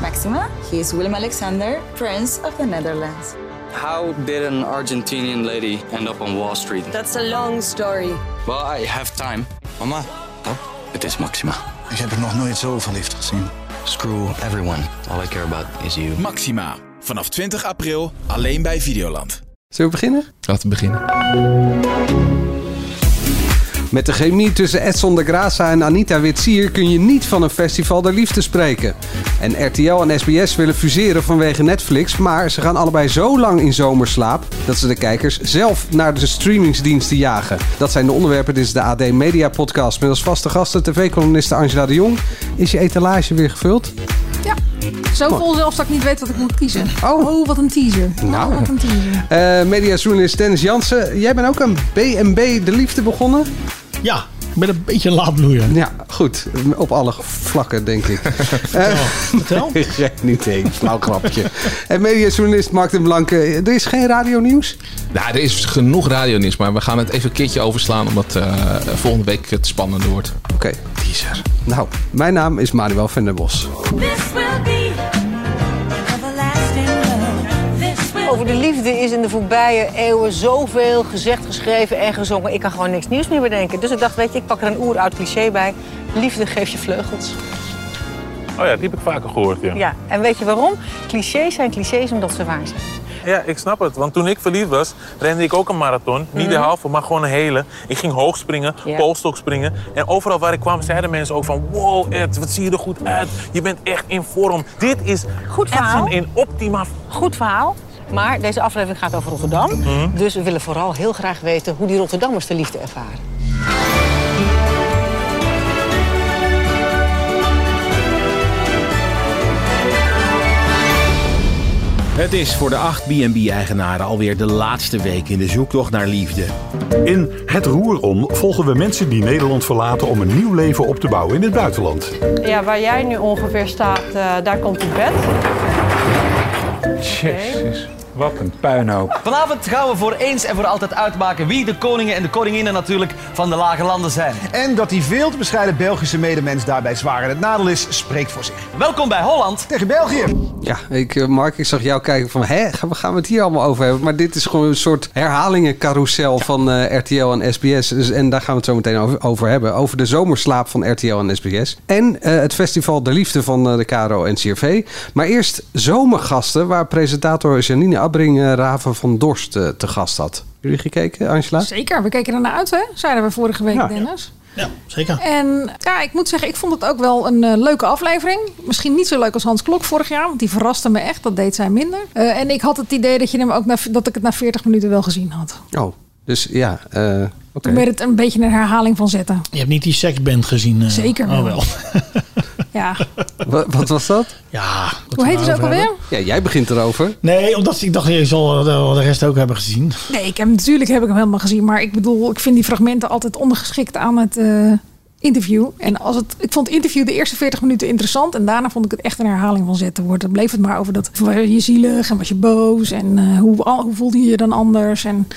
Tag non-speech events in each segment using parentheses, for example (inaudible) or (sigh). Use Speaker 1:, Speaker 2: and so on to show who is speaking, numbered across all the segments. Speaker 1: Maxima. He is Willem Alexander, Prince of the Netherlands.
Speaker 2: How did an Argentinian lady end up on Wall Street?
Speaker 3: That's a long story.
Speaker 2: Well, I have time.
Speaker 4: Mama,
Speaker 2: Het is Maxima.
Speaker 5: Ik heb er nog nooit zo verliefd gezien.
Speaker 2: Screw everyone. All I care about is you.
Speaker 6: Maxima. Vanaf 20 april alleen bij Videoland.
Speaker 7: Zullen we beginnen?
Speaker 8: Laten we beginnen.
Speaker 7: Met de chemie tussen Edson de Graça en Anita Witsier kun je niet van een festival der liefde spreken. En RTL en SBS willen fuseren vanwege Netflix, maar ze gaan allebei zo lang in zomerslaap dat ze de kijkers zelf naar de streamingsdiensten jagen. Dat zijn de onderwerpen. Dit is de AD Media Podcast. Met als vaste gasten tv-columniste Angela de Jong. Is je etalage weer gevuld?
Speaker 9: Ja. Zo vol zelfs dat ik niet weet wat ik moet kiezen.
Speaker 7: Oh.
Speaker 9: Oh, wat een teaser. Oh,
Speaker 7: Nou.
Speaker 9: wat een teaser.
Speaker 7: Eh Mediajournalist Dennis Jansen, jij bent ook een B&B de liefde begonnen?
Speaker 10: Ja, ik ben een beetje een laadbloeier.
Speaker 7: Ja, goed. Op alle vlakken, denk ik. Eh, (laughs)
Speaker 10: Vertel.
Speaker 7: Geen idee, flauw grapje. en mediajournalist Mark den Blanke, er is geen radionieuws?
Speaker 8: Nou, er is genoeg radionieuws, maar we gaan het even een keertje overslaan, omdat eh, volgende week het spannender wordt.
Speaker 7: Oké. Nou, mijn naam is Manuel van der Bos.
Speaker 3: This will be everlasting love. This will
Speaker 11: Over de liefde is in de voorbije eeuwen zoveel gezegd, geschreven en gezongen. Ik kan gewoon niks nieuws meer bedenken. Dus ik dacht, weet je, ik pak er een oeroud cliché bij. Liefde geeft je vleugels.
Speaker 12: Oh ja, die heb ik vaker gehoord, ja.
Speaker 11: Ja, en weet je waarom? Clichés zijn clichés omdat ze waar zijn.
Speaker 12: Ja, ik snap het. Want toen ik verliefd was, rende ik ook een marathon. Niet de halve, maar gewoon een hele. Ik ging hoog springen,
Speaker 11: Mhm. Ja.
Speaker 12: polstok springen. En overal waar ik kwam, zeiden mensen ook van... Wow, Ed, wat zie je er goed uit. Je bent echt in vorm. Dit is
Speaker 11: Goed verhaal.
Speaker 12: Edson in optima...
Speaker 11: Goed verhaal. Maar deze aflevering gaat over Rotterdam.
Speaker 10: Mhm.
Speaker 11: Dus we willen vooral heel graag weten hoe die Rotterdammers de liefde ervaren.
Speaker 6: Het is voor de acht B&B-eigenaren alweer de laatste week in de zoektocht naar liefde.
Speaker 13: In Het Roer Om volgen we mensen die Nederland verlaten om een nieuw leven op te bouwen in het buitenland.
Speaker 3: Ja, waar jij nu ongeveer staat, daar komt het bed.
Speaker 4: jezus. Wat een puinhoop.
Speaker 11: Vanavond gaan we voor eens en voor altijd uitmaken wie de koningen en de koninginnen natuurlijk van de lage landen zijn.
Speaker 4: En dat die veel te bescheiden Belgische medemens daarbij zwaar in het nadeel is, spreekt voor zich.
Speaker 11: Welkom bij Holland.
Speaker 4: Tegen België.
Speaker 7: Ja, ik, eh, Mark, ik zag jou kijken van, hè, gaan we- gaan we het hier allemaal over hebben? Maar dit is gewoon een soort herhalingencarousel van eh, RTL en SBS. Dus, en daar gaan we het zo meteen over, over hebben. Over de zomerslaap van RTL en SBS. En eh, het festival De Liefde van eh, de KRO en CRV. Maar eerst zomergasten, waar presentator Janine Abbring eh, Raven van Dorst eh, te gast had. Jullie gekeken, Angela?
Speaker 9: Zeker, we keken ernaar uit, hè? Zeiden we vorige week,
Speaker 4: Ja.
Speaker 9: Dennis.
Speaker 10: Ja, zeker.
Speaker 9: En ja, ik moet zeggen, ik vond het ook wel een eh, leuke aflevering. Misschien niet zo leuk als Hans Klok vorig jaar, want die verraste me echt. Dat deed zij minder. Eh, en ik had het idee dat, je hem ook na, dat ik het na 40 minuten wel gezien had.
Speaker 7: Oh, dus ja, eh, oké.
Speaker 9: Toen werd het een beetje een herhaling van zetten.
Speaker 10: Je hebt niet die seksband gezien. eh?
Speaker 9: Zeker wel.
Speaker 10: Oh wel. (laughs)
Speaker 9: Ja.
Speaker 7: Wa- Wat was dat?
Speaker 10: ja. wat
Speaker 9: Hoe
Speaker 10: we
Speaker 9: heet het
Speaker 10: daarover
Speaker 9: ook alweer?
Speaker 10: hebben.
Speaker 7: Ja, jij begint erover.
Speaker 10: Nee, omdat ik dacht, je zal de- de rest ook hebben gezien.
Speaker 9: Nee, ik heb, natuurlijk heb ik hem helemaal gezien. Maar ik bedoel, ik vind die fragmenten altijd ondergeschikt aan het eh, interview. En als het, ik vond het interview de eerste 40 minuten interessant. En daarna vond ik het echt een herhaling van zetten worden. Dan bleef het maar over dat, was je zielig en was je boos? En eh, hoe, al- hoe voelde je je dan anders? En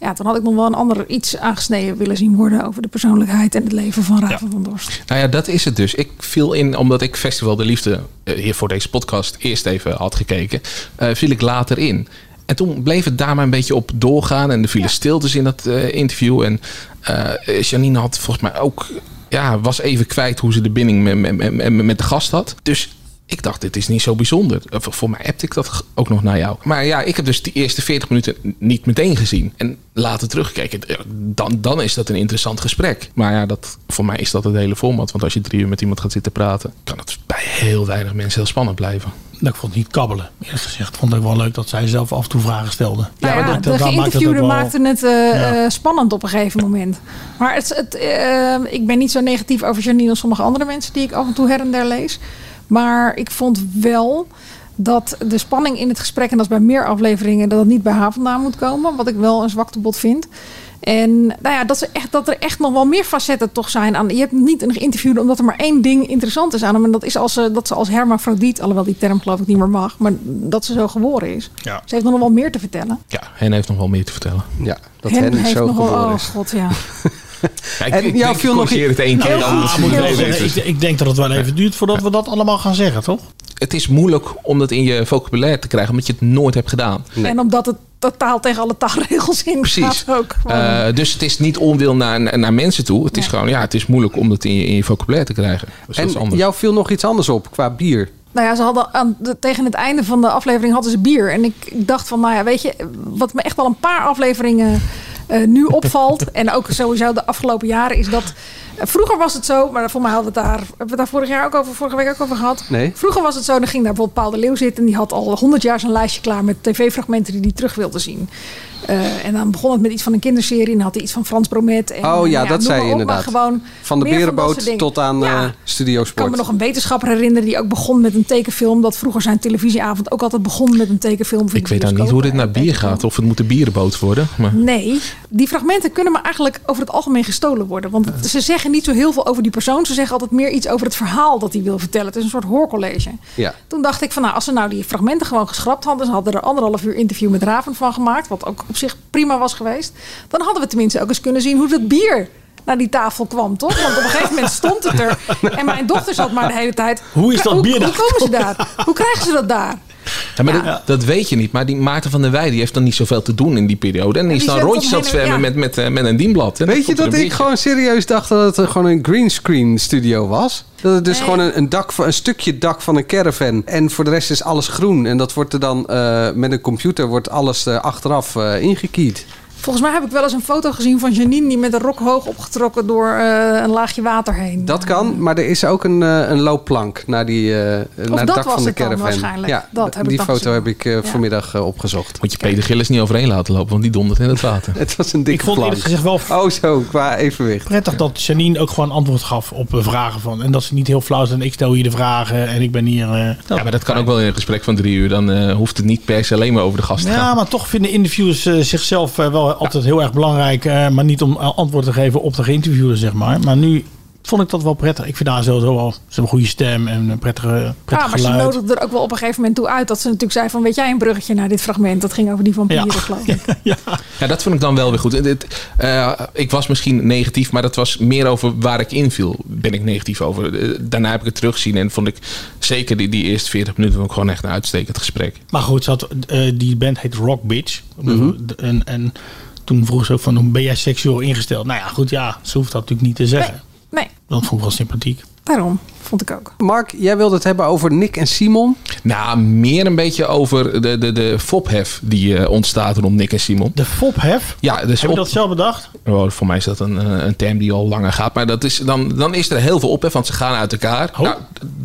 Speaker 9: ja, toen had ik nog wel een ander iets aangesneden willen zien worden... over de persoonlijkheid en het leven van Raven van Dorst.
Speaker 8: Nou ja, dat is het dus. Ik viel in, omdat ik Festival de Liefde eh, hier voor deze podcast eerst even had gekeken, eh, viel ik later in. En toen bleef het daar maar een beetje op doorgaan en er vielen stiltes in dat eh, interview. En eh, Janine had volgens mij ook, ja, was even kwijt hoe ze de binding met, met, met, met de gast had. Dus ik dacht, dit is niet zo bijzonder. Eh, Voor voor mij appte ik dat g- ook nog naar jou. Maar ja, ik heb dus die eerste 40 minuten n- niet meteen gezien. En later teruggekeken, eh, dan, dan is dat een interessant gesprek. Maar ja, dat, voor mij is dat het hele format. Want als je drie uur met iemand gaat zitten praten... kan het bij heel weinig mensen heel spannend blijven.
Speaker 10: Nou, ik vond het niet kabbelen. Eerlijk gezegd vond ik wel leuk dat zij zelf af en toe vragen stelde.
Speaker 9: Nou ja,
Speaker 10: dat-
Speaker 9: de
Speaker 10: dat- dat maakt het ook
Speaker 9: geïnterviewde
Speaker 10: wel-
Speaker 9: maakte het eh, eh, spannend op een gegeven moment. Maar het, het, eh, ik ben niet zo negatief over Janine als sommige andere mensen die ik af en toe her en der lees. Maar ik vond wel dat de spanning in het gesprek, en dat is bij meer afleveringen, dat dat niet bij haar vandaan moet komen. Wat ik wel een zwaktebod vind. En nou ja, dat, ze echt, dat er echt nog wel meer facetten toch zijn. Aan, je hebt niet een geïnterviewde omdat er maar één ding interessant is aan hem. En dat is als ze, dat ze als hermafrodiet, alhoewel die term geloof ik niet meer mag, maar dat ze zo geboren is.
Speaker 10: Ja.
Speaker 9: Ze heeft nog wel meer te vertellen.
Speaker 8: Ja, Hen heeft nog wel meer te vertellen.
Speaker 7: Ja, dat
Speaker 9: Hen
Speaker 7: Henk
Speaker 9: heeft
Speaker 7: zo
Speaker 9: nog wel-
Speaker 7: geboren
Speaker 9: oh
Speaker 7: is.
Speaker 9: god,
Speaker 7: (laughs)
Speaker 9: ja.
Speaker 8: Ja, ik,
Speaker 7: En
Speaker 8: ik
Speaker 7: jou
Speaker 8: denk,
Speaker 7: viel nog Nou,
Speaker 8: ik corrigeer
Speaker 7: i-
Speaker 8: het één keer.
Speaker 10: Nou, Ja,
Speaker 8: dan Ah,
Speaker 10: moet ik, wel
Speaker 8: het
Speaker 10: zeggen, ik, ik denk dat het wel even duurt voordat we dat allemaal gaan zeggen, toch?
Speaker 8: het is moeilijk om dat in je vocabulaire te krijgen, omdat je het nooit hebt gedaan.
Speaker 9: En omdat het totaal tegen alle taalregels in
Speaker 8: Precies.
Speaker 9: gaat ook. gewoon.
Speaker 8: Eh, dus het is niet onwil naar, naar mensen toe. Het is gewoon, ja, het is moeilijk om dat in je, in je vocabulaire te krijgen. Dus dat is
Speaker 7: En
Speaker 8: anders.
Speaker 7: jou viel nog iets anders op qua bier.
Speaker 9: Nou ja, ze hadden aan de- tegen het einde van de aflevering hadden ze bier. En ik, ik dacht van, nou ja, weet je, wat me echt al een paar afleveringen eh,
Speaker 7: (laughs)
Speaker 9: nu opvalt. en ook sowieso de afgelopen jaren is dat. eh, vroeger was het zo, maar voor mij hadden we het daar, hebben we het daar vorig jaar ook over, vorige week ook over gehad.
Speaker 7: Nee.
Speaker 9: Vroeger was het zo, dan ging daar bijvoorbeeld Paul de Leeuw zitten. En die had al honderd jaar zijn lijstje klaar met tv-fragmenten die hij terug wilde zien. Eh, en dan begon het met iets van een kinderserie. En dan had hij iets van Frans Bromet. En,
Speaker 7: oh ja,
Speaker 9: nou
Speaker 7: dat zei
Speaker 9: noem
Speaker 7: je
Speaker 9: maar op, maar
Speaker 7: inderdaad.
Speaker 9: gewoon
Speaker 7: van de
Speaker 9: meer dat soort
Speaker 7: berenboot
Speaker 9: dingen.
Speaker 7: tot aan
Speaker 9: Ja.
Speaker 7: eh Studio
Speaker 9: Ik kan me
Speaker 7: Sport.
Speaker 9: nog een wetenschapper herinneren die ook begon met een tekenfilm. Dat vroeger zijn televisieavond ook altijd begon met een tekenfilm.
Speaker 8: Ik weet dan niet hoe dit naar bier gaat. Of het moet een bierenboot worden. Maar...
Speaker 9: Nee, die fragmenten kunnen maar eigenlijk over het algemeen gestolen worden. Want ze zeggen niet zo heel veel over die persoon. Ze zeggen altijd meer iets over het verhaal dat hij wil vertellen. Het is een soort hoorcollege.
Speaker 7: Ja.
Speaker 9: Toen dacht ik van nou, als ze nou die fragmenten gewoon geschrapt hadden. Ze hadden er anderhalf uur interview met Raven van gemaakt. Wat ook op zich prima was geweest. Dan hadden we tenminste ook eens kunnen zien hoe dat bier naar die tafel kwam, toch? Want op een gegeven moment stond het er.
Speaker 8: (laughs)
Speaker 9: En mijn dochter zat maar de hele tijd...
Speaker 8: Hoe is dat bier
Speaker 9: hoe,
Speaker 8: daar
Speaker 9: hoe komen ze daar? Hoe krijgen ze dat daar?
Speaker 8: Ja, maar Dat, dat weet je niet. Maar die Maarten van der Wij die heeft dan niet zoveel te doen in die periode. En die is
Speaker 9: die
Speaker 8: dan
Speaker 9: zwemt
Speaker 8: rondjes
Speaker 9: om
Speaker 8: aan het
Speaker 9: heen en-
Speaker 8: zwemmen met, met, eh, met een dienblad. En dan
Speaker 7: Weet je
Speaker 8: komt er
Speaker 7: dat
Speaker 8: een
Speaker 7: ik
Speaker 8: biertje.
Speaker 7: gewoon serieus dacht dat het eh, gewoon een greenscreen studio was? Dat het dus gewoon een, een, dak, van- een stukje dak van een caravan. En voor de rest is alles groen. En dat wordt er dan eh, met een computer wordt alles eh, achteraf eh ingekiet.
Speaker 9: Volgens mij heb ik wel eens een foto gezien van Janine... die met een rok hoog opgetrokken door eh, een laagje water heen.
Speaker 7: Dat kan, maar er is ook een, eh, een loopplank naar, die, eh, naar het
Speaker 9: dat
Speaker 7: dak
Speaker 9: was
Speaker 7: van de
Speaker 9: het dan
Speaker 7: caravan.
Speaker 9: waarschijnlijk.
Speaker 7: Ja,
Speaker 9: Dat heb ik
Speaker 7: die
Speaker 9: dan
Speaker 7: foto
Speaker 9: gezien.
Speaker 7: heb ik eh, vanmiddag eh, opgezocht. (laughs)
Speaker 8: Moet je Peter Gillis niet overheen laten lopen, want die dondert in het water.
Speaker 7: het was een dikke
Speaker 10: Ik vond eerlijk
Speaker 7: plank.
Speaker 10: gezegd wel
Speaker 7: Oh zo, qua evenwicht.
Speaker 10: prettig dat Janine ook gewoon antwoord gaf op de vragen van. En dat ze niet heel flauw zijn. Ik stel hier de vragen en ik ben hier. eh,
Speaker 8: Ja, maar dat kan ook wel in een gesprek van drie uur. Dan eh, hoeft het niet per se alleen maar over de gast te gaan.
Speaker 10: Ja, maar toch vinden interviewers eh, zichzelf eh, wel altijd heel erg belangrijk. eh, maar niet om eh, antwoord te geven op de geïnterviewden, zeg maar. Maar nu vond ik dat wel prettig. Ik vind haar sowieso wel. Ze hebben een goede stem en een prettige, prettig
Speaker 9: Ja, maar ze
Speaker 10: geluid.
Speaker 9: nodigde er ook wel op een gegeven moment toe uit... dat ze natuurlijk zei van, weet jij een bruggetje naar dit fragment? Dat ging over die van Pieren, geloof ik.
Speaker 10: (laughs)
Speaker 8: Ja, dat vond ik dan wel weer goed. En dit, eh, ik was misschien negatief, maar dat was meer over waar ik inviel. Ben ik negatief over. Eh, daarna heb ik het teruggezien en vond ik zeker die, die eerste 40 minuten vond ik gewoon echt een uitstekend gesprek.
Speaker 10: Maar goed, ze had, eh, die band heet Rock Bitch.
Speaker 8: Mhm.
Speaker 10: en, en toen vroeg ze ook van, hoe ben jij seksueel ingesteld? Nou ja, goed, ja, ze hoeft dat natuurlijk niet te zeggen.
Speaker 9: Nee,
Speaker 10: Dat vond ik wel sympathiek.
Speaker 9: daarom vond ik ook.
Speaker 7: Mark, jij wilde het hebben over Nick en Simon.
Speaker 8: Nou, meer een beetje over de, de, de fophef die eh, ontstaat rond Nick en Simon.
Speaker 10: De fophef?
Speaker 8: Ja, dus
Speaker 10: Heb je
Speaker 8: op-
Speaker 10: dat zelf bedacht?
Speaker 8: Oh, voor mij is dat een, eh, een term die al langer gaat. Maar dat is, dan, dan is er heel veel ophef, want ze gaan uit elkaar. Oh?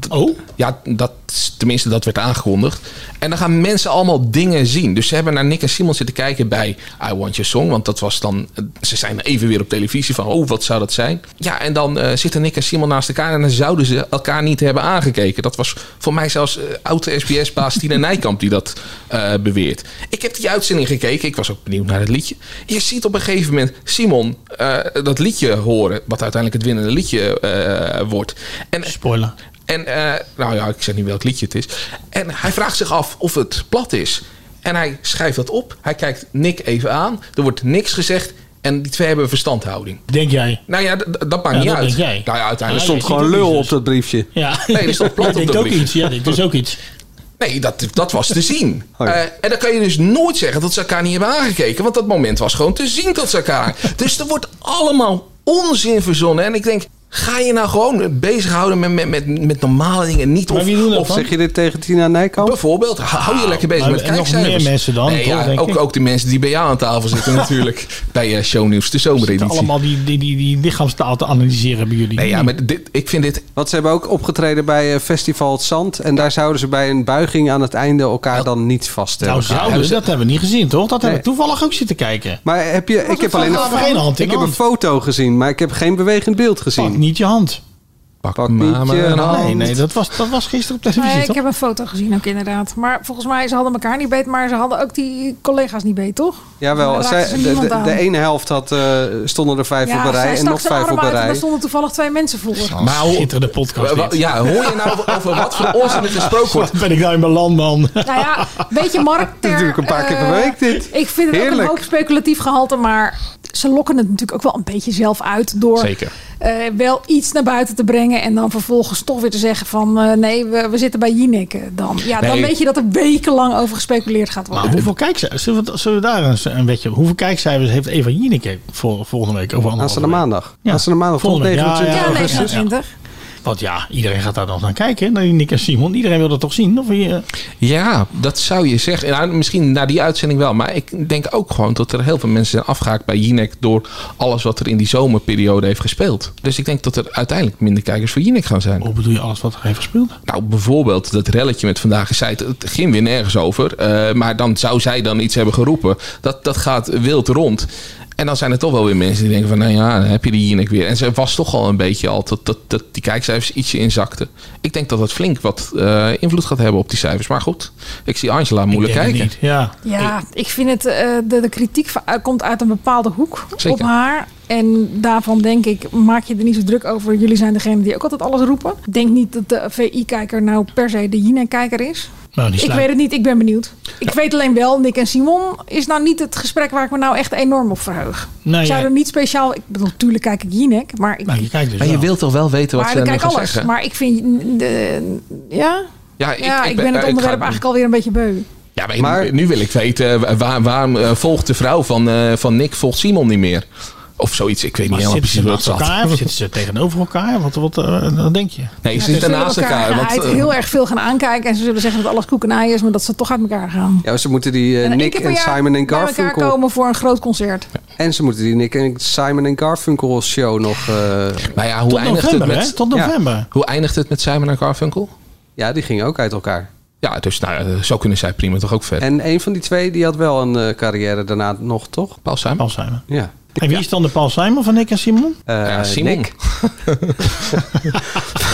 Speaker 10: oh?
Speaker 8: Ja, dat, is- tenminste, dat werd aangekondigd. En dan gaan mensen allemaal dingen zien. Dus ze hebben naar Nick en Simon zitten kijken bij I Want Your Song. Want dat was dan... eh, Ze zijn even weer op televisie van, oh, wat zou dat zijn? Ja, en dan eh, zitten Nick en Simon naast elkaar... en dan zouden ze elkaar niet hebben aangekeken. Dat was voor mij zelfs eh, oud-SBS-baas Tina Nijkamp die dat eh, beweert. Ik heb die uitzending gekeken. Ik was ook benieuwd naar het liedje. Je ziet op een gegeven moment Simon eh, dat liedje horen... wat uiteindelijk het winnende liedje eh, wordt. En,
Speaker 10: Spoiler.
Speaker 8: en, eh, nou ja, ik zeg niet welk liedje het is. En hij vraagt zich af of het plat is. En hij schrijft dat op. Hij kijkt Nick even aan. Er wordt niks gezegd. En die twee hebben verstandhouding.
Speaker 10: Denk jij?
Speaker 8: Nou ja, d- d- dat maakt
Speaker 10: Ja,
Speaker 8: niet
Speaker 10: dat
Speaker 8: uit.
Speaker 10: denk jij.
Speaker 8: Nou ja,
Speaker 10: Ja,
Speaker 8: uiteindelijk
Speaker 10: Er stond je gewoon ziet het lul niet,
Speaker 7: op dat briefje.
Speaker 10: Ja.
Speaker 8: Nee, er stond plat
Speaker 10: Jij
Speaker 8: op
Speaker 10: denkt
Speaker 8: dat
Speaker 10: ook
Speaker 8: briefje.
Speaker 10: iets. Ja, dit is ook iets.
Speaker 8: Nee, dat, dat was te
Speaker 10: (laughs)
Speaker 8: zien.
Speaker 10: Oh ja.
Speaker 8: Eh, en dan kan je dus nooit zeggen dat ze elkaar niet hebben aangekeken. Want dat moment was gewoon te zien dat
Speaker 10: (laughs)
Speaker 8: ze elkaar. dus er wordt allemaal onzin verzonnen. En ik denk, ga je nou gewoon bezighouden met, met, met, met normale dingen? Niet of, of
Speaker 7: zeg je dit tegen Tina Nijkamp?
Speaker 8: Bijvoorbeeld, hou je lekker bezig met kijkcijfers. Nee, ja, ook, ook de mensen die bij jou aan
Speaker 10: (laughs)
Speaker 8: tafel zitten natuurlijk. Bij eh, Shownieuws, de zomereditie.
Speaker 10: Allemaal die, die, die, die lichaamstaal te analyseren bij jullie.
Speaker 8: Nee, ja, maar dit, ik vind dit...
Speaker 7: Want ze hebben ook opgetreden bij eh, Festival Het Zand. En daar zouden ze bij een buiging aan het einde elkaar dan niet vast
Speaker 10: Nou,
Speaker 7: hebben.
Speaker 10: zouden, dat hebben we niet gezien, toch? Dat hebben we toevallig ook zitten kijken.
Speaker 7: Maar heb je, ik heb alleen een,
Speaker 10: geen hand in
Speaker 7: ik heb een
Speaker 10: hand.
Speaker 7: foto gezien, maar ik heb geen bewegend beeld gezien. Pak
Speaker 10: niet je hand.
Speaker 8: Pak,
Speaker 7: niet
Speaker 8: maar
Speaker 7: je
Speaker 8: een hand.
Speaker 7: hand.
Speaker 10: Nee, nee, dat was, dat was gisteren op televisie,
Speaker 9: Nee, ik
Speaker 10: toch?
Speaker 9: heb een foto gezien ook inderdaad. Maar volgens mij, ze hadden elkaar niet beet, maar ze hadden ook die collega's niet beet, toch?
Speaker 7: Jawel,
Speaker 9: Daar
Speaker 7: zij-
Speaker 9: raakten ze
Speaker 7: de,
Speaker 9: niemand
Speaker 7: de,
Speaker 9: aan.
Speaker 7: de ene helft had, eh, stonden er vijf
Speaker 9: Ja,
Speaker 7: op een
Speaker 9: zij
Speaker 7: rij en
Speaker 9: stak
Speaker 7: nog
Speaker 9: zijn
Speaker 7: vijf
Speaker 9: arm
Speaker 7: op een
Speaker 9: uit en
Speaker 7: rij.
Speaker 9: daar stonden toevallig twee mensen voor.
Speaker 8: Maar hoe-
Speaker 10: Schitterende podcast
Speaker 8: Wa- wa-
Speaker 10: dit.
Speaker 8: Ja, hoor je nou over- over
Speaker 10: (laughs)
Speaker 8: wat voor onzin er gesproken wordt?
Speaker 10: Ben ik nou in mijn land,
Speaker 8: (laughs)
Speaker 10: man?
Speaker 9: Nou ja, weet je,
Speaker 7: (laughs)
Speaker 9: Mark. Ter,
Speaker 10: Dat doe ik een paar keer per
Speaker 9: eh,
Speaker 10: week, dit.
Speaker 9: Ik vind het ook
Speaker 10: Heerlijk.
Speaker 9: een hoog speculatief gehalte, maar ze lokken het natuurlijk ook wel een beetje zelf uit door
Speaker 8: Zeker.
Speaker 9: eh, wel iets naar buiten te brengen. brengen. En dan vervolgens toch weer te zeggen van eh, nee, we, we zitten bij Jinek eh, dan. Ja, dan
Speaker 10: Nee.
Speaker 9: weet je dat er wekenlang over gespeculeerd gaat
Speaker 10: Maar
Speaker 9: worden.
Speaker 10: hoeveel kijkcijfers? Zullen we, zullen we daar eens een wetje op? Hoeveel kijkcijfers heeft Eva Jinek voor volgende week? Over
Speaker 7: Aanstaande maandag.
Speaker 10: Ja.
Speaker 7: Aanstaande maandag, tot
Speaker 10: Volgende week, ja,
Speaker 7: 29
Speaker 10: ja, ja,
Speaker 7: augustus.
Speaker 10: ja, ja. Want ja, iedereen gaat daar nog naar kijken. hè, Naar Jinek en Simon. Iedereen wil dat toch zien? Of je,
Speaker 8: Ja, dat zou je zeggen. Nou, misschien na die uitzending wel. Maar ik denk ook gewoon dat er heel veel mensen zijn afgehaakt bij Jinek... door alles wat er in die zomerperiode heeft gespeeld. Dus ik denk dat er uiteindelijk minder kijkers voor Jinek gaan zijn.
Speaker 10: Hoe bedoel je alles wat er heeft gespeeld?
Speaker 8: Nou, bijvoorbeeld dat relletje met Vandaag Gezeid. Het ging weer nergens over. eh, maar dan zou zij dan iets hebben geroepen. Dat, dat gaat wild rond. En dan zijn er toch wel weer mensen die denken van... nou ja, dan heb je die Jinek weer. En ze was toch al een beetje al dat, dat, dat die kijkcijfers ietsje inzakten. Ik denk dat dat flink wat eh, invloed gaat hebben op die cijfers. Maar goed, ik zie Angela moeilijk
Speaker 10: denk het
Speaker 8: kijken.
Speaker 10: niet, ja.
Speaker 9: Ja, ik vind het, eh, de, de kritiek van- komt uit een bepaalde hoek
Speaker 8: Zeker.
Speaker 9: op haar. En daarvan denk ik, maak je er niet zo druk over. Jullie zijn degene die ook altijd alles roepen. Ik denk niet dat de VI-kijker nou per se de Jinek-kijker is.
Speaker 10: Nou, die
Speaker 9: ik
Speaker 10: sluit-
Speaker 9: weet het niet, ik ben benieuwd. Ik weet alleen wel, Nick en Simon is nou niet het gesprek waar ik me nou echt enorm op verheug.
Speaker 8: Nee,
Speaker 9: ik zou
Speaker 8: ja.
Speaker 9: er niet speciaal, ik bedoel, natuurlijk kijk ik Jinek, maar
Speaker 10: dus
Speaker 9: ik,
Speaker 8: maar je wilt toch wel weten wat
Speaker 9: maar
Speaker 8: ze
Speaker 9: ik
Speaker 8: dan
Speaker 9: kijk
Speaker 8: gaan
Speaker 9: alles.
Speaker 8: zeggen?
Speaker 9: Maar ik vind, de, ja?
Speaker 8: Ja,
Speaker 9: ja, ik, ben het
Speaker 8: ik ga-
Speaker 9: onderwerp eigenlijk alweer een beetje beu.
Speaker 8: Ja, maar, nu, nu wil ik weten, eh, waar, waarom eh, volgt de vrouw van, eh, van Nick, volgt Simon niet meer? Of zoiets, ik weet
Speaker 10: Maar
Speaker 8: niet helemaal
Speaker 10: zitten ze
Speaker 8: precies hoe dat
Speaker 10: naast elkaar? Of
Speaker 8: zat.
Speaker 10: zitten ze tegenover elkaar? Wat, wat, eh, wat denk je?
Speaker 8: Nee, ze
Speaker 9: Dus Ze
Speaker 8: zitten
Speaker 9: zullen
Speaker 8: naast elkaar.
Speaker 9: geheid
Speaker 8: want, eh,
Speaker 9: heel erg veel gaan aankijken. En ze zullen zeggen dat alles koek en ei is, maar dat ze toch uit elkaar gaan.
Speaker 7: Ja, ze moeten die eh,
Speaker 9: En één
Speaker 7: Nick
Speaker 9: keer per
Speaker 7: en
Speaker 9: jaar
Speaker 7: Simon en
Speaker 9: bij elkaar
Speaker 7: Garfunkel...
Speaker 9: komen voor een groot concert.
Speaker 7: En ze moeten die Nick en Simon en Garfunkel show nog... eh,
Speaker 8: maar ja, hoe eindigt het met, Hoe eindigt het met Simon en Garfunkel?
Speaker 7: Ja, die gingen ook uit elkaar.
Speaker 8: Ja, dus nou, ja, zo kunnen zij prima toch ook verder.
Speaker 7: En een van die twee die had wel een eh, carrière daarna nog, toch?
Speaker 8: Paul Simon.
Speaker 10: Paul Simon.
Speaker 7: Ja.
Speaker 10: En wie is dan de Paul Simon van Nick en Simon?
Speaker 7: Eh,
Speaker 10: Simon.
Speaker 7: Nick. (laughs)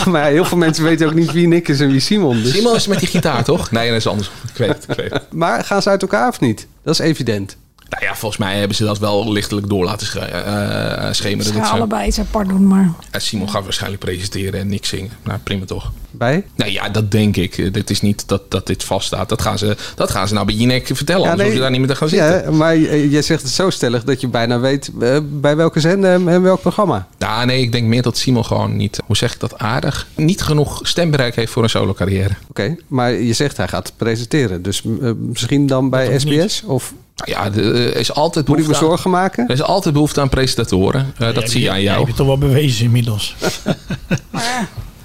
Speaker 7: maar ja, heel veel mensen weten ook niet wie Nick is en wie Simon. Dus.
Speaker 8: Simon is met die gitaar,
Speaker 10: (laughs)
Speaker 8: toch? Nee, dat is anders. Ik weet het, ik weet het.
Speaker 7: Maar gaan ze uit elkaar of niet? Dat is evident.
Speaker 8: Nou ja, volgens mij hebben ze dat wel lichtelijk door laten sche- eh, eh, schemeren.
Speaker 9: Ze
Speaker 8: Dat
Speaker 9: gaan
Speaker 8: ze-
Speaker 9: allebei iets apart doen, maar...
Speaker 8: Ja, Simon gaat waarschijnlijk presenteren en niks zingen. Nou, prima toch.
Speaker 7: Bij?
Speaker 8: Nou ja, dat denk ik. Eh, Dit is niet dat, dat dit vaststaat. Dat gaan, ze, dat gaan ze nou bij Jinek vertellen. anders hoef je daar niet meer te gaan zitten.
Speaker 7: Ja, maar eh, jij zegt het zo stellig dat je bijna weet eh, bij welke zender en, en welk programma.
Speaker 8: Nou, nee, ik denk meer dat Simon gewoon niet, hoe zeg ik dat aardig, niet genoeg stembereik heeft voor een solo carrière.
Speaker 7: Oké, maar je zegt hij gaat presenteren. Dus eh, misschien dan bij SBS? Of
Speaker 8: Nou ja, de- er is altijd
Speaker 7: Moet ik me
Speaker 8: behoefte aan-
Speaker 7: zorgen maken?
Speaker 8: Er is altijd behoefte aan presentatoren. Eh, dat zie je aan jou.
Speaker 10: Heb je toch wel bewezen inmiddels.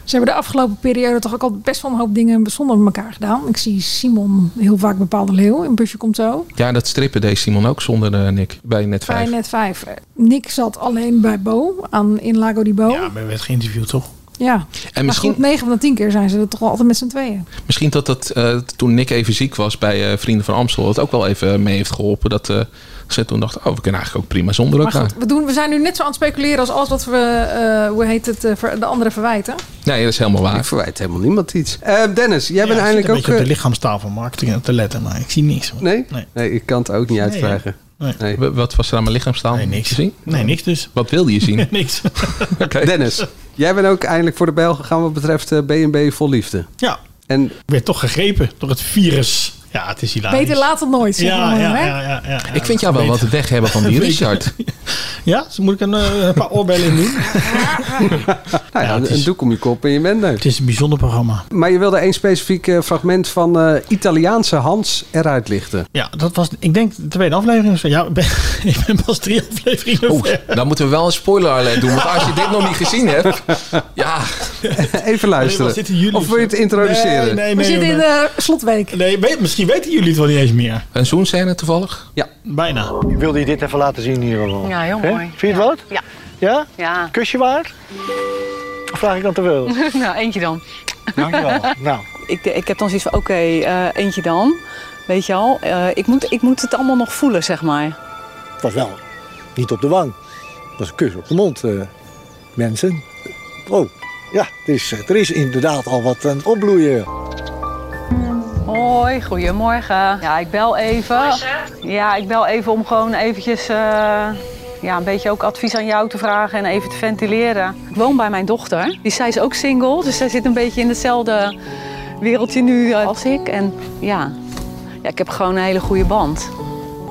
Speaker 9: Ze hebben de afgelopen periode toch ook al best wel een hoop dingen zonder elkaar gedaan. Ik zie Simon heel vaak bepaalde leeuw. Een busje komt zo.
Speaker 8: Ja, dat strippen deed Simon ook zonder eh, Nick bij Net 5.
Speaker 9: Bij net vijf. Eh, Nick zat alleen bij Bo aan, in Lago di Bo. Nou, Ja,
Speaker 10: maar werd geïnterviewd toch?
Speaker 8: En misschien-
Speaker 9: Maar goed, 9 van de 10 keer zijn ze er toch wel altijd met z'n tweeën.
Speaker 8: Misschien dat dat eh, toen Nick even ziek was bij eh, Vrienden van Amstel, dat ook wel even mee heeft geholpen. Dat eh, ze toen dachten, oh, we kunnen eigenlijk ook prima zonder
Speaker 9: Maar
Speaker 8: elkaar.
Speaker 9: goed, we, doen, we zijn nu net zo aan het speculeren als alles wat we, eh, hoe heet het, eh, ver- de anderen verwijten.
Speaker 8: Nee, dat is helemaal waar. Ik
Speaker 7: verwijt helemaal niemand iets. Eh, Dennis, jij
Speaker 10: Ja,
Speaker 7: bent
Speaker 10: ik zit
Speaker 7: eindelijk
Speaker 10: een
Speaker 7: ook...
Speaker 10: beetje op de
Speaker 7: eh,
Speaker 10: lichaamstaal van marketing te letten, maar ik zie niks.
Speaker 7: Nee? nee? ik kan het ook niet
Speaker 10: Nee,
Speaker 7: uitvragen.
Speaker 8: W- Wat was er aan mijn lichaamstaal? Nee, niks. Zien?
Speaker 10: Nee, niks dus.
Speaker 8: Wat wilde
Speaker 14: (laughs)
Speaker 8: je zien?
Speaker 10: (laughs) niks.
Speaker 7: Dennis, jij bent ook eindelijk voor de bel gegaan wat betreft eh, B&B Vol Liefde.
Speaker 10: Ja.
Speaker 7: En... nou
Speaker 10: Ik werd toch gegrepen door het virus. Ja, het is hilarisch.
Speaker 9: Beter laat dan nooit, zeggen
Speaker 10: Ja,
Speaker 9: we
Speaker 10: ja,
Speaker 9: maar,
Speaker 10: ja,
Speaker 9: hè?
Speaker 10: ja, ja,
Speaker 8: ik vind jou wel wat weg hebben van die
Speaker 10: Beter.
Speaker 14: (laughs)
Speaker 8: Richard.
Speaker 10: Ja, dus moet ik een, eh, een paar (laughs) oorbellen in doen?
Speaker 7: Nou ja, een doek om je kop en je bent neus. Het
Speaker 10: is een bijzonder programma.
Speaker 7: Maar je wilde één specifiek eh, fragment van eh, Italiaanse Hans eruit lichten. (laughs)
Speaker 10: Ja, dat was, ik denk, de tweede aflevering. of zo. Ja, ik ben, (laughs) ik ben pas drie afleveringen
Speaker 8: Oeh,
Speaker 10: ver.
Speaker 8: dan moeten we wel een spoiler alert doen. Want als je dit nog niet gezien
Speaker 14: (laughs)
Speaker 8: hebt. Ja.
Speaker 7: Even luisteren. of wil je het introduceren?
Speaker 10: Nee, nee,
Speaker 9: we
Speaker 10: nee,
Speaker 9: zitten
Speaker 10: nee.
Speaker 9: in de slotweek.
Speaker 10: Nee, weet, misschien weten jullie het wel niet eens meer.
Speaker 8: Een zoenscène toevallig?
Speaker 7: Ja.
Speaker 10: Bijna.
Speaker 14: Wilde je dit even laten zien hier gewoon?
Speaker 11: Ja, heel
Speaker 14: Hè?
Speaker 11: mooi.
Speaker 14: Vind je het wat?
Speaker 11: Ja.
Speaker 14: Ja?
Speaker 11: Ja.
Speaker 14: Kusje waard? Of vraag ik dan te veel?
Speaker 11: (laughs) nou, eentje dan.
Speaker 14: Dankjewel. Nou.
Speaker 11: Ik, ik heb dan zoiets van, oké, eh, eentje dan. Weet je al, eh, ik, moet, ik moet het allemaal nog voelen, zeg maar.
Speaker 14: Het was wel niet op de wang. Het was een kus op de mond, eh, mensen. Oh, ja, het is, er is inderdaad al wat aan het opbloeien.
Speaker 11: Hoi, goedemorgen. Ja, ik bel even. Ja, ik bel even om gewoon eventjes eh, ja, een beetje ook advies aan jou te vragen en even te ventileren. Ik woon bij mijn dochter. Die, zij is ook single, dus zij zit een beetje in hetzelfde wereldje nu eh, als ik. En ja, ja, ik heb gewoon een hele goede band.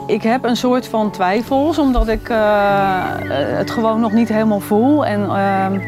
Speaker 11: Ik heb een soort van twijfels, omdat ik eh, eh, het gewoon nog niet helemaal voel. En ehm,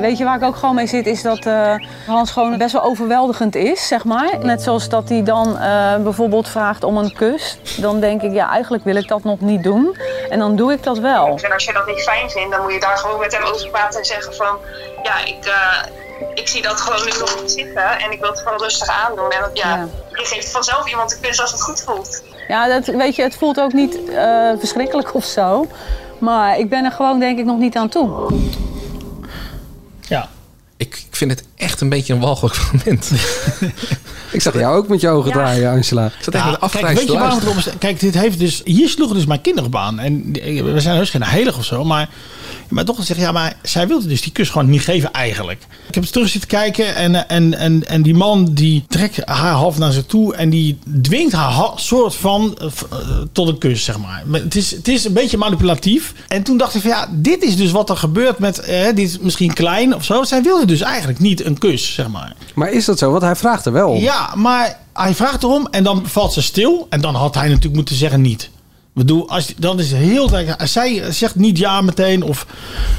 Speaker 11: Weet je waar ik ook gewoon mee zit, is dat eh, Hans gewoon best wel overweldigend is, zeg maar. Net zoals dat hij dan eh, bijvoorbeeld vraagt om een kus. Dan denk ik, ja, eigenlijk wil ik dat nog niet doen. En dan doe ik dat wel.
Speaker 15: En als je dat niet fijn vindt, dan moet je daar gewoon met hem over praten en zeggen van... Ja, ik, eh, ik zie dat gewoon nu nog niet zitten en ik wil het gewoon rustig aandoen. En dat, ja, je geeft vanzelf iemand een kus als het goed voelt.
Speaker 11: Ja, dat, weet je, het voelt ook niet eh, verschrikkelijk of zo. Maar ik ben er gewoon denk ik nog niet aan toe.
Speaker 8: Ik, ik vind het echt een beetje een walgelijk moment. (laughs)
Speaker 7: Ik zag jou ook met je ogen draaien, Angela.
Speaker 8: zat echt met de
Speaker 10: kijk, weet je
Speaker 8: te
Speaker 10: waarom het
Speaker 8: luisteren.
Speaker 10: om is? Kijk, dit heeft dus, hier sloeg dus mijn kinderbaan. En die- eh, we zijn heus geen heilig of zo, maar mijn dochter zegt, ja, maar zij wilde dus die kus gewoon niet geven eigenlijk. Ik heb eens terug zitten kijken en, eh, en, en, en die man die trekt haar half naar ze toe en die dwingt haar ha- soort van eh, v- eh, tot een kus, zeg maar. Maar Het is, het is een beetje manipulatief. En toen dacht ik van, ja, dit is dus wat er gebeurt met, eh, dit is misschien klein of zo. Zij wilde dus eigenlijk niet een kus, zeg maar.
Speaker 7: Maar is dat zo? Want hij vraagt er wel om.
Speaker 10: Ja, maar hij vraagt erom en dan valt ze stil. En dan had hij natuurlijk moeten zeggen niet. Ik bedoel, als, dan is het heel duidelijk. Als Zij zegt niet ja meteen. Of,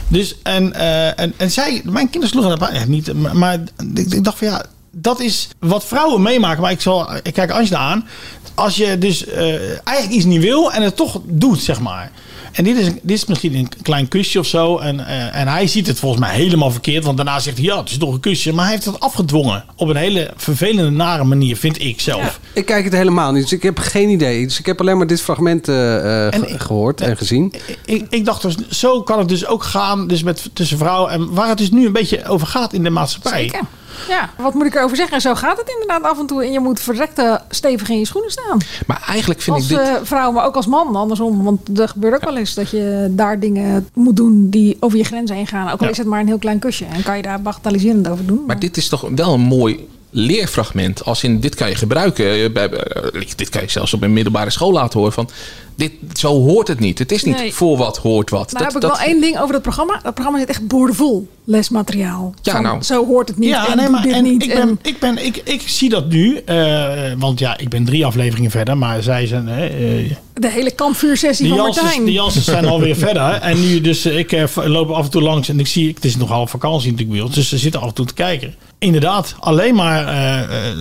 Speaker 10: dus, en, eh, en, en zij, mijn kinderen sloegen dat echt niet. Maar, maar ik, ik dacht van ja, dat is wat vrouwen meemaken. Maar ik, zal, ik kijk Angela aan. Als je dus eh, eigenlijk iets niet wil en het toch doet, zeg maar. En dit is, dit is misschien een klein kusje of zo. En, eh, en hij ziet het volgens mij helemaal verkeerd. Want daarna zegt hij, ja, het is toch een kusje. Maar hij heeft het afgedwongen. Op een hele vervelende, nare manier, vind ik zelf.
Speaker 7: Ik kijk het helemaal niet, dus ik heb geen idee. Dus ik heb alleen maar dit fragment eh, eh, ge- gehoord en gezien.
Speaker 10: ik, ik dacht dus, zo kan het dus ook gaan dus met, tussen vrouwen. En waar het dus nu een beetje over gaat in de maatschappij.
Speaker 9: Zeker. Ja, wat moet ik erover zeggen? En zo gaat het inderdaad af en toe. En je moet verrekte stevig in je schoenen staan.
Speaker 8: Maar eigenlijk vind
Speaker 9: als
Speaker 8: ik dit...
Speaker 9: eh, vrouw, maar ook als man andersom. Want er gebeurt ook wel eens dat je daar dingen moet doen die over je grenzen heen gaan. Ook al
Speaker 8: Ja.
Speaker 9: is het maar een heel klein kusje. En kan je daar bagatelliserend over doen.
Speaker 8: Maar dit is toch wel een mooi leerfragment. Als in, dit kan je gebruiken. eh, bij- eh, Dit kan je zelfs op een middelbare school laten horen. Van, dit, zo hoort het niet. Het is niet
Speaker 9: Nee.
Speaker 8: voor wat hoort wat.
Speaker 9: Nou heb ik wel één ding over dat programma. Dat programma zit echt boordevol lesmateriaal.
Speaker 10: Ja,
Speaker 9: Van,
Speaker 10: nou.
Speaker 9: Zo hoort het niet.
Speaker 10: Ja,
Speaker 9: en
Speaker 10: nee,
Speaker 9: doe
Speaker 10: maar
Speaker 9: dit
Speaker 10: en
Speaker 9: niet.
Speaker 10: ik, ben, ik, ben, ik, ik zie dat nu. eh, want ja, ik ben drie afleveringen verder. Maar zij zijn... eh, eh,
Speaker 9: de hele kampvuursessie
Speaker 10: de
Speaker 9: van
Speaker 10: Janssens-
Speaker 9: Martijn.
Speaker 10: De Janssens zijn alweer (laughs) verder. En nu dus, eh, ik eh, v- loop af en toe langs en ik zie, het is nogal vakantie natuurlijk bij ons, dus ze zitten af en toe te kijken. Inderdaad, alleen maar eh, eh,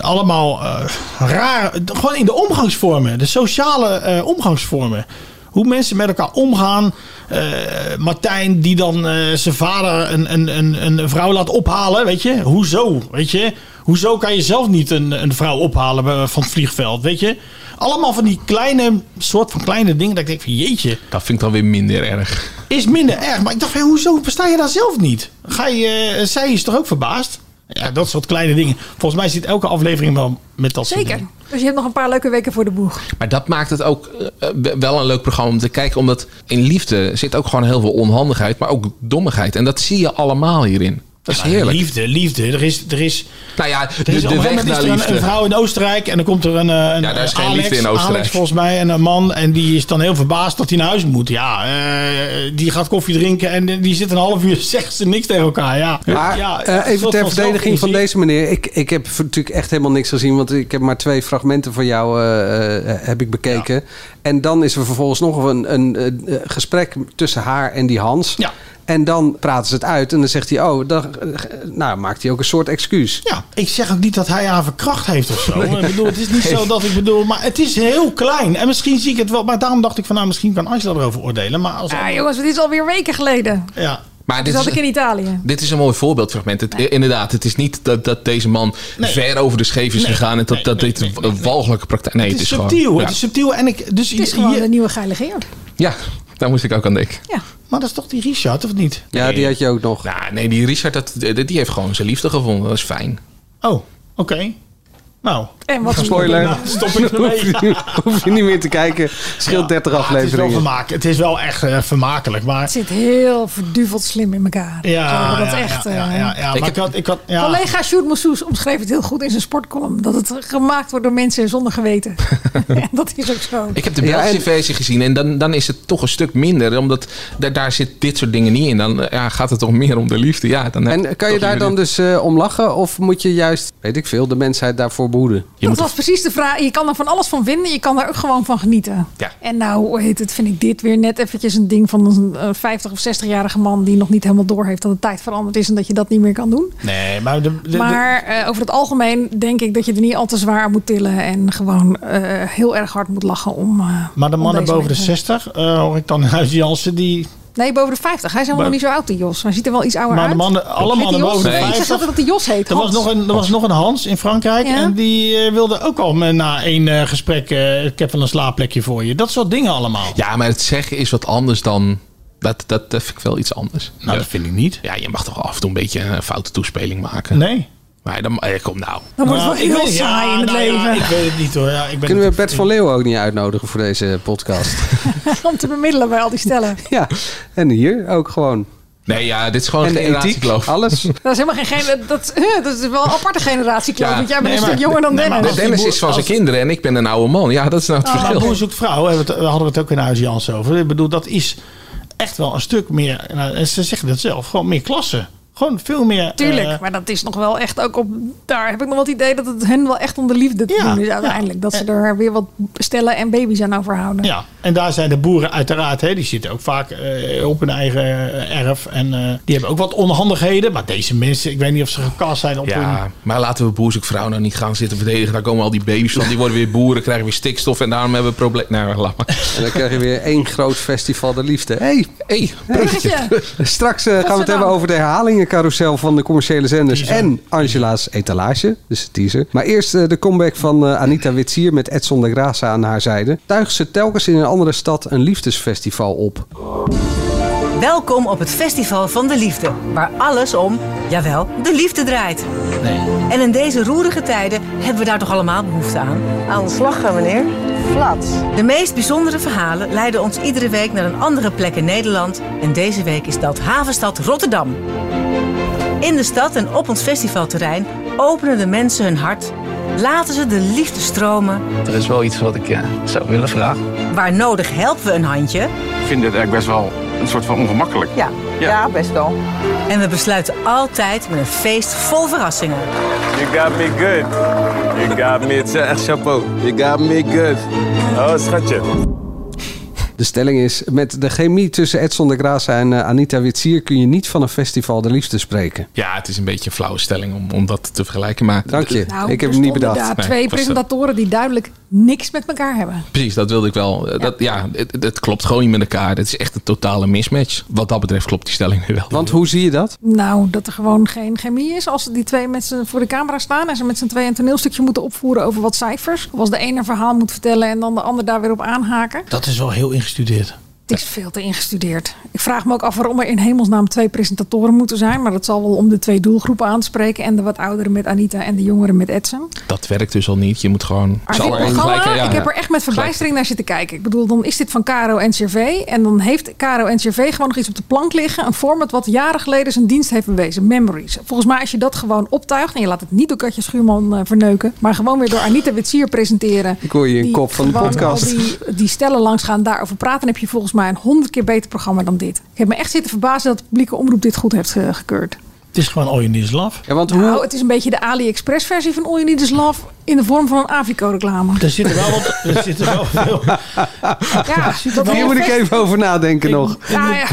Speaker 10: allemaal eh, raar, gewoon in de omgangsvormen, de sociale eh, omgangsvormen. Hoe mensen met elkaar omgaan. Eh, Martijn die dan eh, zijn vader een, een, een, een vrouw laat ophalen. Weet je? Hoezo? Weet je? Hoezo kan je zelf niet een, een vrouw ophalen eh, van het vliegveld? Weet je? Allemaal van die kleine, soort van kleine dingen. Dat ik denk van jeetje,
Speaker 8: Dat vind ik dan weer minder erg.
Speaker 10: is minder erg. Maar ik dacht van hoezo versta je daar zelf niet? Ga je, eh, zij is toch ook verbaasd? Ja, dat soort kleine dingen. Volgens mij zit elke aflevering wel met dat soort
Speaker 9: Zeker.
Speaker 10: dingen.
Speaker 9: Dus je hebt nog een paar leuke weken voor de boeg.
Speaker 8: Maar dat maakt het ook eh, eh, wel een leuk programma om te kijken. Omdat in liefde zit ook gewoon heel veel onhandigheid. Maar ook dommigheid. En dat zie je allemaal hierin. Dat is
Speaker 10: Ja,
Speaker 8: heerlijk.
Speaker 10: Liefde, liefde. Er is, er is,
Speaker 8: nou ja, de,
Speaker 10: Er is
Speaker 8: de
Speaker 10: op een
Speaker 8: weg
Speaker 10: gegeven
Speaker 8: naar
Speaker 10: moment is er
Speaker 8: liefde.
Speaker 10: een, een vrouw in Oostenrijk en dan komt er een, eh, een
Speaker 8: Ja, daar is geen
Speaker 10: Alex,
Speaker 8: liefde in Oostenrijk.
Speaker 10: Alex volgens mij en een man en die is dan heel verbaasd dat hij naar huis moet. Ja, eh, die gaat koffie drinken en eh, die zit een half uur (laughs) zegt ze niks tegen elkaar. Ja,
Speaker 7: Maar
Speaker 10: ja,
Speaker 7: eh,
Speaker 10: een
Speaker 7: even
Speaker 10: soort
Speaker 7: ter verdediging van
Speaker 10: zelfinzicht.
Speaker 7: deze meneer. Ik, ik heb v- natuurlijk echt helemaal niks gezien. Want ik heb maar twee fragmenten van jou eh, eh, heb ik bekeken. En dan is er vervolgens nog een, een, eh, eh, gesprek tussen haar en die Hans. En dan praten ze het uit. En dan zegt hij, oh, dan, eh, nou maakt hij ook een soort excuus.
Speaker 10: Ja, ik zeg ook niet dat hij haar verkracht heeft of zo.
Speaker 7: Nee.
Speaker 10: Ik bedoel, het is niet zo dat ik bedoel, maar het is heel klein. En misschien zie ik het wel, maar daarom dacht ik van nou, misschien kan Angela erover oordelen. Maar als
Speaker 9: Ah, jongens, dit is alweer weken geleden.
Speaker 10: Ja.
Speaker 8: Maar
Speaker 9: Toen
Speaker 8: dit
Speaker 9: zat Dus ik
Speaker 8: is,
Speaker 9: in Italië.
Speaker 8: dit is een mooi voorbeeldfragment. Het, eh, Inderdaad, het is niet dat, dat deze man ver over de scheef is gegaan. En dat, dat dit een walgelijke praktijk... Nee,
Speaker 10: het
Speaker 8: het
Speaker 10: is
Speaker 8: is,
Speaker 10: subtiel,
Speaker 8: gewoon...
Speaker 10: het is subtiel en ik dus
Speaker 9: Het is
Speaker 10: je-
Speaker 9: gewoon
Speaker 10: je-
Speaker 9: de nieuwe Geilige Geert.
Speaker 8: Ja, daar moest ik ook aan denken.
Speaker 10: maar dat is toch die Richard of niet?
Speaker 7: Ja, die had je ook nog.
Speaker 8: nee, die Richard, dat, eh, die die heeft gewoon zijn liefde gevonden. Dat is fijn.
Speaker 10: Oh, oké. Nou.
Speaker 9: En wat
Speaker 7: Spoiler.
Speaker 10: Nou, stop ik ermee.
Speaker 7: (laughs) hoef, je, hoef je niet meer te kijken. Scheelt 30
Speaker 10: Het is wel
Speaker 7: afleveringen.
Speaker 10: vermaak. Het is wel echt eh, vermakelijk, maar.
Speaker 9: Het zit heel verduveld slim in elkaar.
Speaker 10: Ja,
Speaker 9: dat
Speaker 10: ja,
Speaker 9: echt.
Speaker 10: ja,
Speaker 9: eh,
Speaker 10: ja, ja, ja, maar ik, had, ik had, ja.
Speaker 9: Collega Sjoerd Moussous omschreef het heel goed in zijn sportcolumn. Dat het gemaakt wordt door mensen zonder geweten. (laughs) Ja, dat is ook zo.
Speaker 8: Ik heb de Belgische versie gezien en dan, dan is het toch een stuk minder. Omdat daar, daar zit dit soort dingen niet in. Dan eh, ja, gaat het toch meer om de liefde. Ja, dan heb
Speaker 7: En kan je
Speaker 8: toch
Speaker 7: daar dan
Speaker 8: liever
Speaker 7: dus eh, om lachen? Of moet je juist, weet ik veel, de mensheid daarvoor behoeden.
Speaker 9: dat was precies de vraag. Je kan er van alles van vinden. Je kan er ook gewoon van genieten.
Speaker 8: Ja.
Speaker 9: En nou, hoe heet het, vind ik dit weer net eventjes een ding van een eh, 50 of 60-jarige man... die nog niet helemaal door heeft dat de tijd veranderd is... en dat je dat niet meer kan doen.
Speaker 10: Nee, maar... De, de- de-
Speaker 9: Maar eh, over het algemeen denk ik dat je er niet al te zwaar aan moet tillen... en gewoon eh, heel erg hard moet lachen om... eh,
Speaker 10: maar de
Speaker 9: om
Speaker 10: mannen
Speaker 9: deze
Speaker 10: boven de
Speaker 9: mensen.
Speaker 10: 60, eh, hoor ik dan (laughs) Huis Jansen, die...
Speaker 9: Nee, boven de 50. Hij is helemaal
Speaker 10: Maar-
Speaker 9: nog niet zo oud, die Jos. Hij ziet er wel iets ouder
Speaker 10: Maar de
Speaker 9: uit.
Speaker 10: mannen- alle
Speaker 9: Heet die
Speaker 10: mannen
Speaker 9: Jos?
Speaker 10: boven de
Speaker 9: Nee, Ik zeg
Speaker 10: 50?
Speaker 9: altijd dat hij Jos heet.
Speaker 10: Er was,
Speaker 9: Hans.
Speaker 10: nog een, er was nog een Hans in Frankrijk
Speaker 9: Ja.
Speaker 10: en die eh, wilde ook al me- na één eh, gesprek... eh, ik heb wel een slaapplekje voor je. Dat soort dingen allemaal.
Speaker 8: Ja, maar het zeggen is wat anders dan. Dat, dat, dat vind ik wel iets anders. Nou, dat
Speaker 10: vind ik niet.
Speaker 8: Ja, je mag toch af en toe een beetje een foute toespeling maken.
Speaker 10: Nee.
Speaker 8: Maar dan, eh, kom nou.
Speaker 9: Dan wordt
Speaker 10: Nou,
Speaker 9: het
Speaker 10: ik
Speaker 9: wel heel
Speaker 10: weet- ja,
Speaker 9: saai in het
Speaker 10: nou ja,
Speaker 9: leven.
Speaker 10: ik weet het Nou, niet hoor. Ja, ik ben
Speaker 7: Kunnen we
Speaker 10: niet-
Speaker 7: Bert van Leeuwen ook niet uitnodigen voor deze podcast?
Speaker 9: (laughs) Om te bemiddelen bij al die stellen.
Speaker 7: ja, en hier ook gewoon.
Speaker 8: Nee, ja, dit is gewoon
Speaker 7: en de ethiek,
Speaker 8: generatiekloof.
Speaker 7: alles.
Speaker 9: Dat is helemaal geen... gene- Dat, huh, dat is wel een aparte generatie, geloof
Speaker 8: Ja.
Speaker 9: ik. Jij bent
Speaker 8: Nee,
Speaker 9: een
Speaker 8: maar-
Speaker 9: stuk jonger dan
Speaker 10: nee, maar
Speaker 9: Dennis.
Speaker 10: als die
Speaker 8: Dennis
Speaker 10: boer-
Speaker 8: is van zijn
Speaker 10: als-
Speaker 8: kinderen en ik ben een oude man. Ja, dat is nou het
Speaker 10: Ah, Maar
Speaker 8: verschil.
Speaker 10: boer zoekt vrouw, hebben we het- hadden we het ook in Huis Jansen over. Ik bedoel, dat is echt wel een stuk meer... nou, en ze zeggen dat zelf, gewoon meer klasse. Gewoon veel meer...
Speaker 9: Tuurlijk,
Speaker 10: eh,
Speaker 9: maar dat is nog wel echt ook op... Daar heb ik nog wel het idee dat het hen wel echt om de liefde te
Speaker 10: Ja,
Speaker 9: doen is uiteindelijk. Dat ze er weer wat stellen en baby's aan overhouden.
Speaker 10: Ja, en daar zijn de boeren uiteraard, hè, die zitten ook vaak eh, op hun eigen eh, erf. En eh, die hebben ook wat onhandigheden. Maar deze mensen, ik weet niet of ze gekast zijn op
Speaker 8: Ja,
Speaker 10: hun...
Speaker 8: maar laten we boer zoekt vrouw nou niet gaan zitten verdedigen. Daar komen al die baby's van. Die worden weer boeren, krijgen weer stikstof en daarom hebben we probleem. Nou, laat maar.
Speaker 7: En dan krijg je weer één groot festival de liefde. Hey,
Speaker 8: hey,
Speaker 7: Straks eh, gaan we het hebben over de herhalingencarousel van de commerciële zenders en Angela's etalage, dus de teaser. Maar eerst eh, de comeback van eh, Anita Witsier met Edson de Graça aan haar zijde. Tuigt ze telkens in een andere stad een liefdesfestival op.
Speaker 16: Welkom op het Festival van de Liefde, waar alles om, jawel, de liefde draait. En in deze roerige tijden hebben we daar toch allemaal behoefte aan? Aan de slag gaan, meneer. Flats. De meest bijzondere verhalen leiden ons iedere week naar een andere plek in Nederland. En deze week is dat havenstad Rotterdam. In de stad en op ons festivalterrein openen de mensen hun hart. Laten ze de liefde stromen.
Speaker 17: Er is wel iets wat ik eh, zou willen vragen.
Speaker 16: Waar nodig helpen we een handje.
Speaker 17: Ik vind dit eigenlijk best wel een soort van ongemakkelijk.
Speaker 16: Ja, ja. best wel. En we besluiten altijd met een feest vol verrassingen.
Speaker 18: You got me good. You got me. Het is echt chapeau. You got me good. Oh, schatje.
Speaker 7: De stelling is, met de chemie tussen Edson de Graça en eh, Anita Witsier kun je niet van een festival de liefde spreken.
Speaker 8: Ja, het is een beetje een flauwe stelling om, om dat te vergelijken. Maar
Speaker 7: Dank je.
Speaker 9: Nou, er stonden daar
Speaker 8: Nee,
Speaker 9: twee
Speaker 8: ik was er-
Speaker 9: presentatoren die duidelijk niks met elkaar hebben.
Speaker 8: Precies, dat wilde ik wel. Eh, Dat, ja, het, het klopt gewoon niet met elkaar. Het is echt een totale mismatch. Wat dat betreft klopt die stelling nu wel.
Speaker 7: Want hoe zie je dat?
Speaker 9: Nou, dat er gewoon geen chemie is. Als die twee mensen voor de camera staan en ze met z'n tweeën een toneelstukje moeten opvoeren over wat cijfers. Of als de ene een verhaal moet vertellen en dan de ander daar weer op aanhaken.
Speaker 10: Dat is wel heel ingestudeerd.
Speaker 9: Het is veel te ingestudeerd. Ik vraag me ook af waarom er in hemelsnaam twee presentatoren moeten zijn. Maar dat zal wel om de twee doelgroepen aan te spreken. En de wat ouderen met Anita en de jongeren met Edson.
Speaker 8: Dat werkt dus al niet. Je moet gewoon...
Speaker 9: Maar
Speaker 8: Ze
Speaker 9: dit
Speaker 8: allemaal
Speaker 9: programma,
Speaker 8: gelijk- ja,
Speaker 9: ik heb er echt met
Speaker 8: gelijk-
Speaker 9: verbijstering naar zitten kijken. Ik bedoel, dan is dit van Caro en CRV. En dan heeft Caro en CRV gewoon nog iets op de plank liggen. Een format wat jaren geleden zijn dienst heeft bewezen. Memories. Volgens mij als je dat gewoon optuigt. En je laat het niet door Katje Schuurman eh, verneuken. Maar gewoon weer door Anita Witsier presenteren.
Speaker 7: Ik hoor hier een
Speaker 9: Die
Speaker 7: kop van de
Speaker 9: gewoon
Speaker 7: podcast.
Speaker 9: al Die, die stellen langs gaan, daarover praten. Dan heb je volgens mij een honderd keer beter programma dan dit. Ik heb me echt zitten verbazen dat de publieke omroep dit goed heeft eh, gekeurd.
Speaker 10: Het is gewoon all you need is love.
Speaker 7: Ja, want
Speaker 9: Nou, het is een beetje de AliExpress versie van All You Need Is Love. In de vorm van een Avico-reclame.
Speaker 10: Er zitten wel wat...
Speaker 8: (laughs)
Speaker 10: Er zitten wel veel...
Speaker 9: Ja, dat
Speaker 7: Hier moet ik even over nadenken nog.
Speaker 9: Nou ja,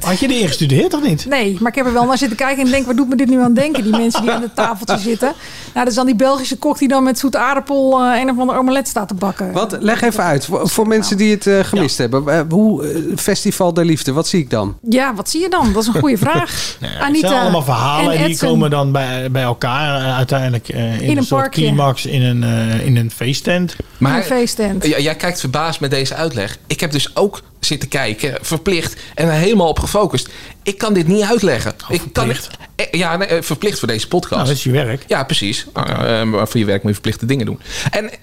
Speaker 10: Had je die ingestudeerd of niet?
Speaker 9: nee, maar ik heb er wel naar zitten kijken en denk, waar doet me dit nu aan denken? Die mensen die aan het tafeltje zitten. Nou, dat is dan die Belgische kok die dan met zoete aardappel eh, een of andere omelet staat te bakken.
Speaker 7: Wat, leg even uit, voor, voor mensen die het eh, gemist hebben. Eh, hoe, eh, Festival der Liefde, wat zie ik dan?
Speaker 9: Ja, wat zie je dan? Dat is een goede vraag.
Speaker 10: Ja, het
Speaker 9: Anita
Speaker 10: zijn allemaal verhalen
Speaker 9: en
Speaker 10: en die
Speaker 9: Edson.
Speaker 10: komen dan bij, bij elkaar eh, uiteindelijk eh, in,
Speaker 9: In
Speaker 10: een,
Speaker 9: een
Speaker 10: soort
Speaker 9: parkje.
Speaker 10: climax in een, eh, in een feesttent.
Speaker 9: In een feesttent.
Speaker 8: Ja, jij kijkt verbaasd met deze uitleg. Ik heb dus ook zitten kijken, verplicht en er helemaal op gefocust. Ik kan dit niet uitleggen. ik kan het, eh, ja, nee, eh, verplicht voor deze podcast.
Speaker 10: Oh, Nou, dat is je werk.
Speaker 8: Ja, precies. Nou, ja, eh, maar voor je werk moet je verplichte dingen doen. En eh,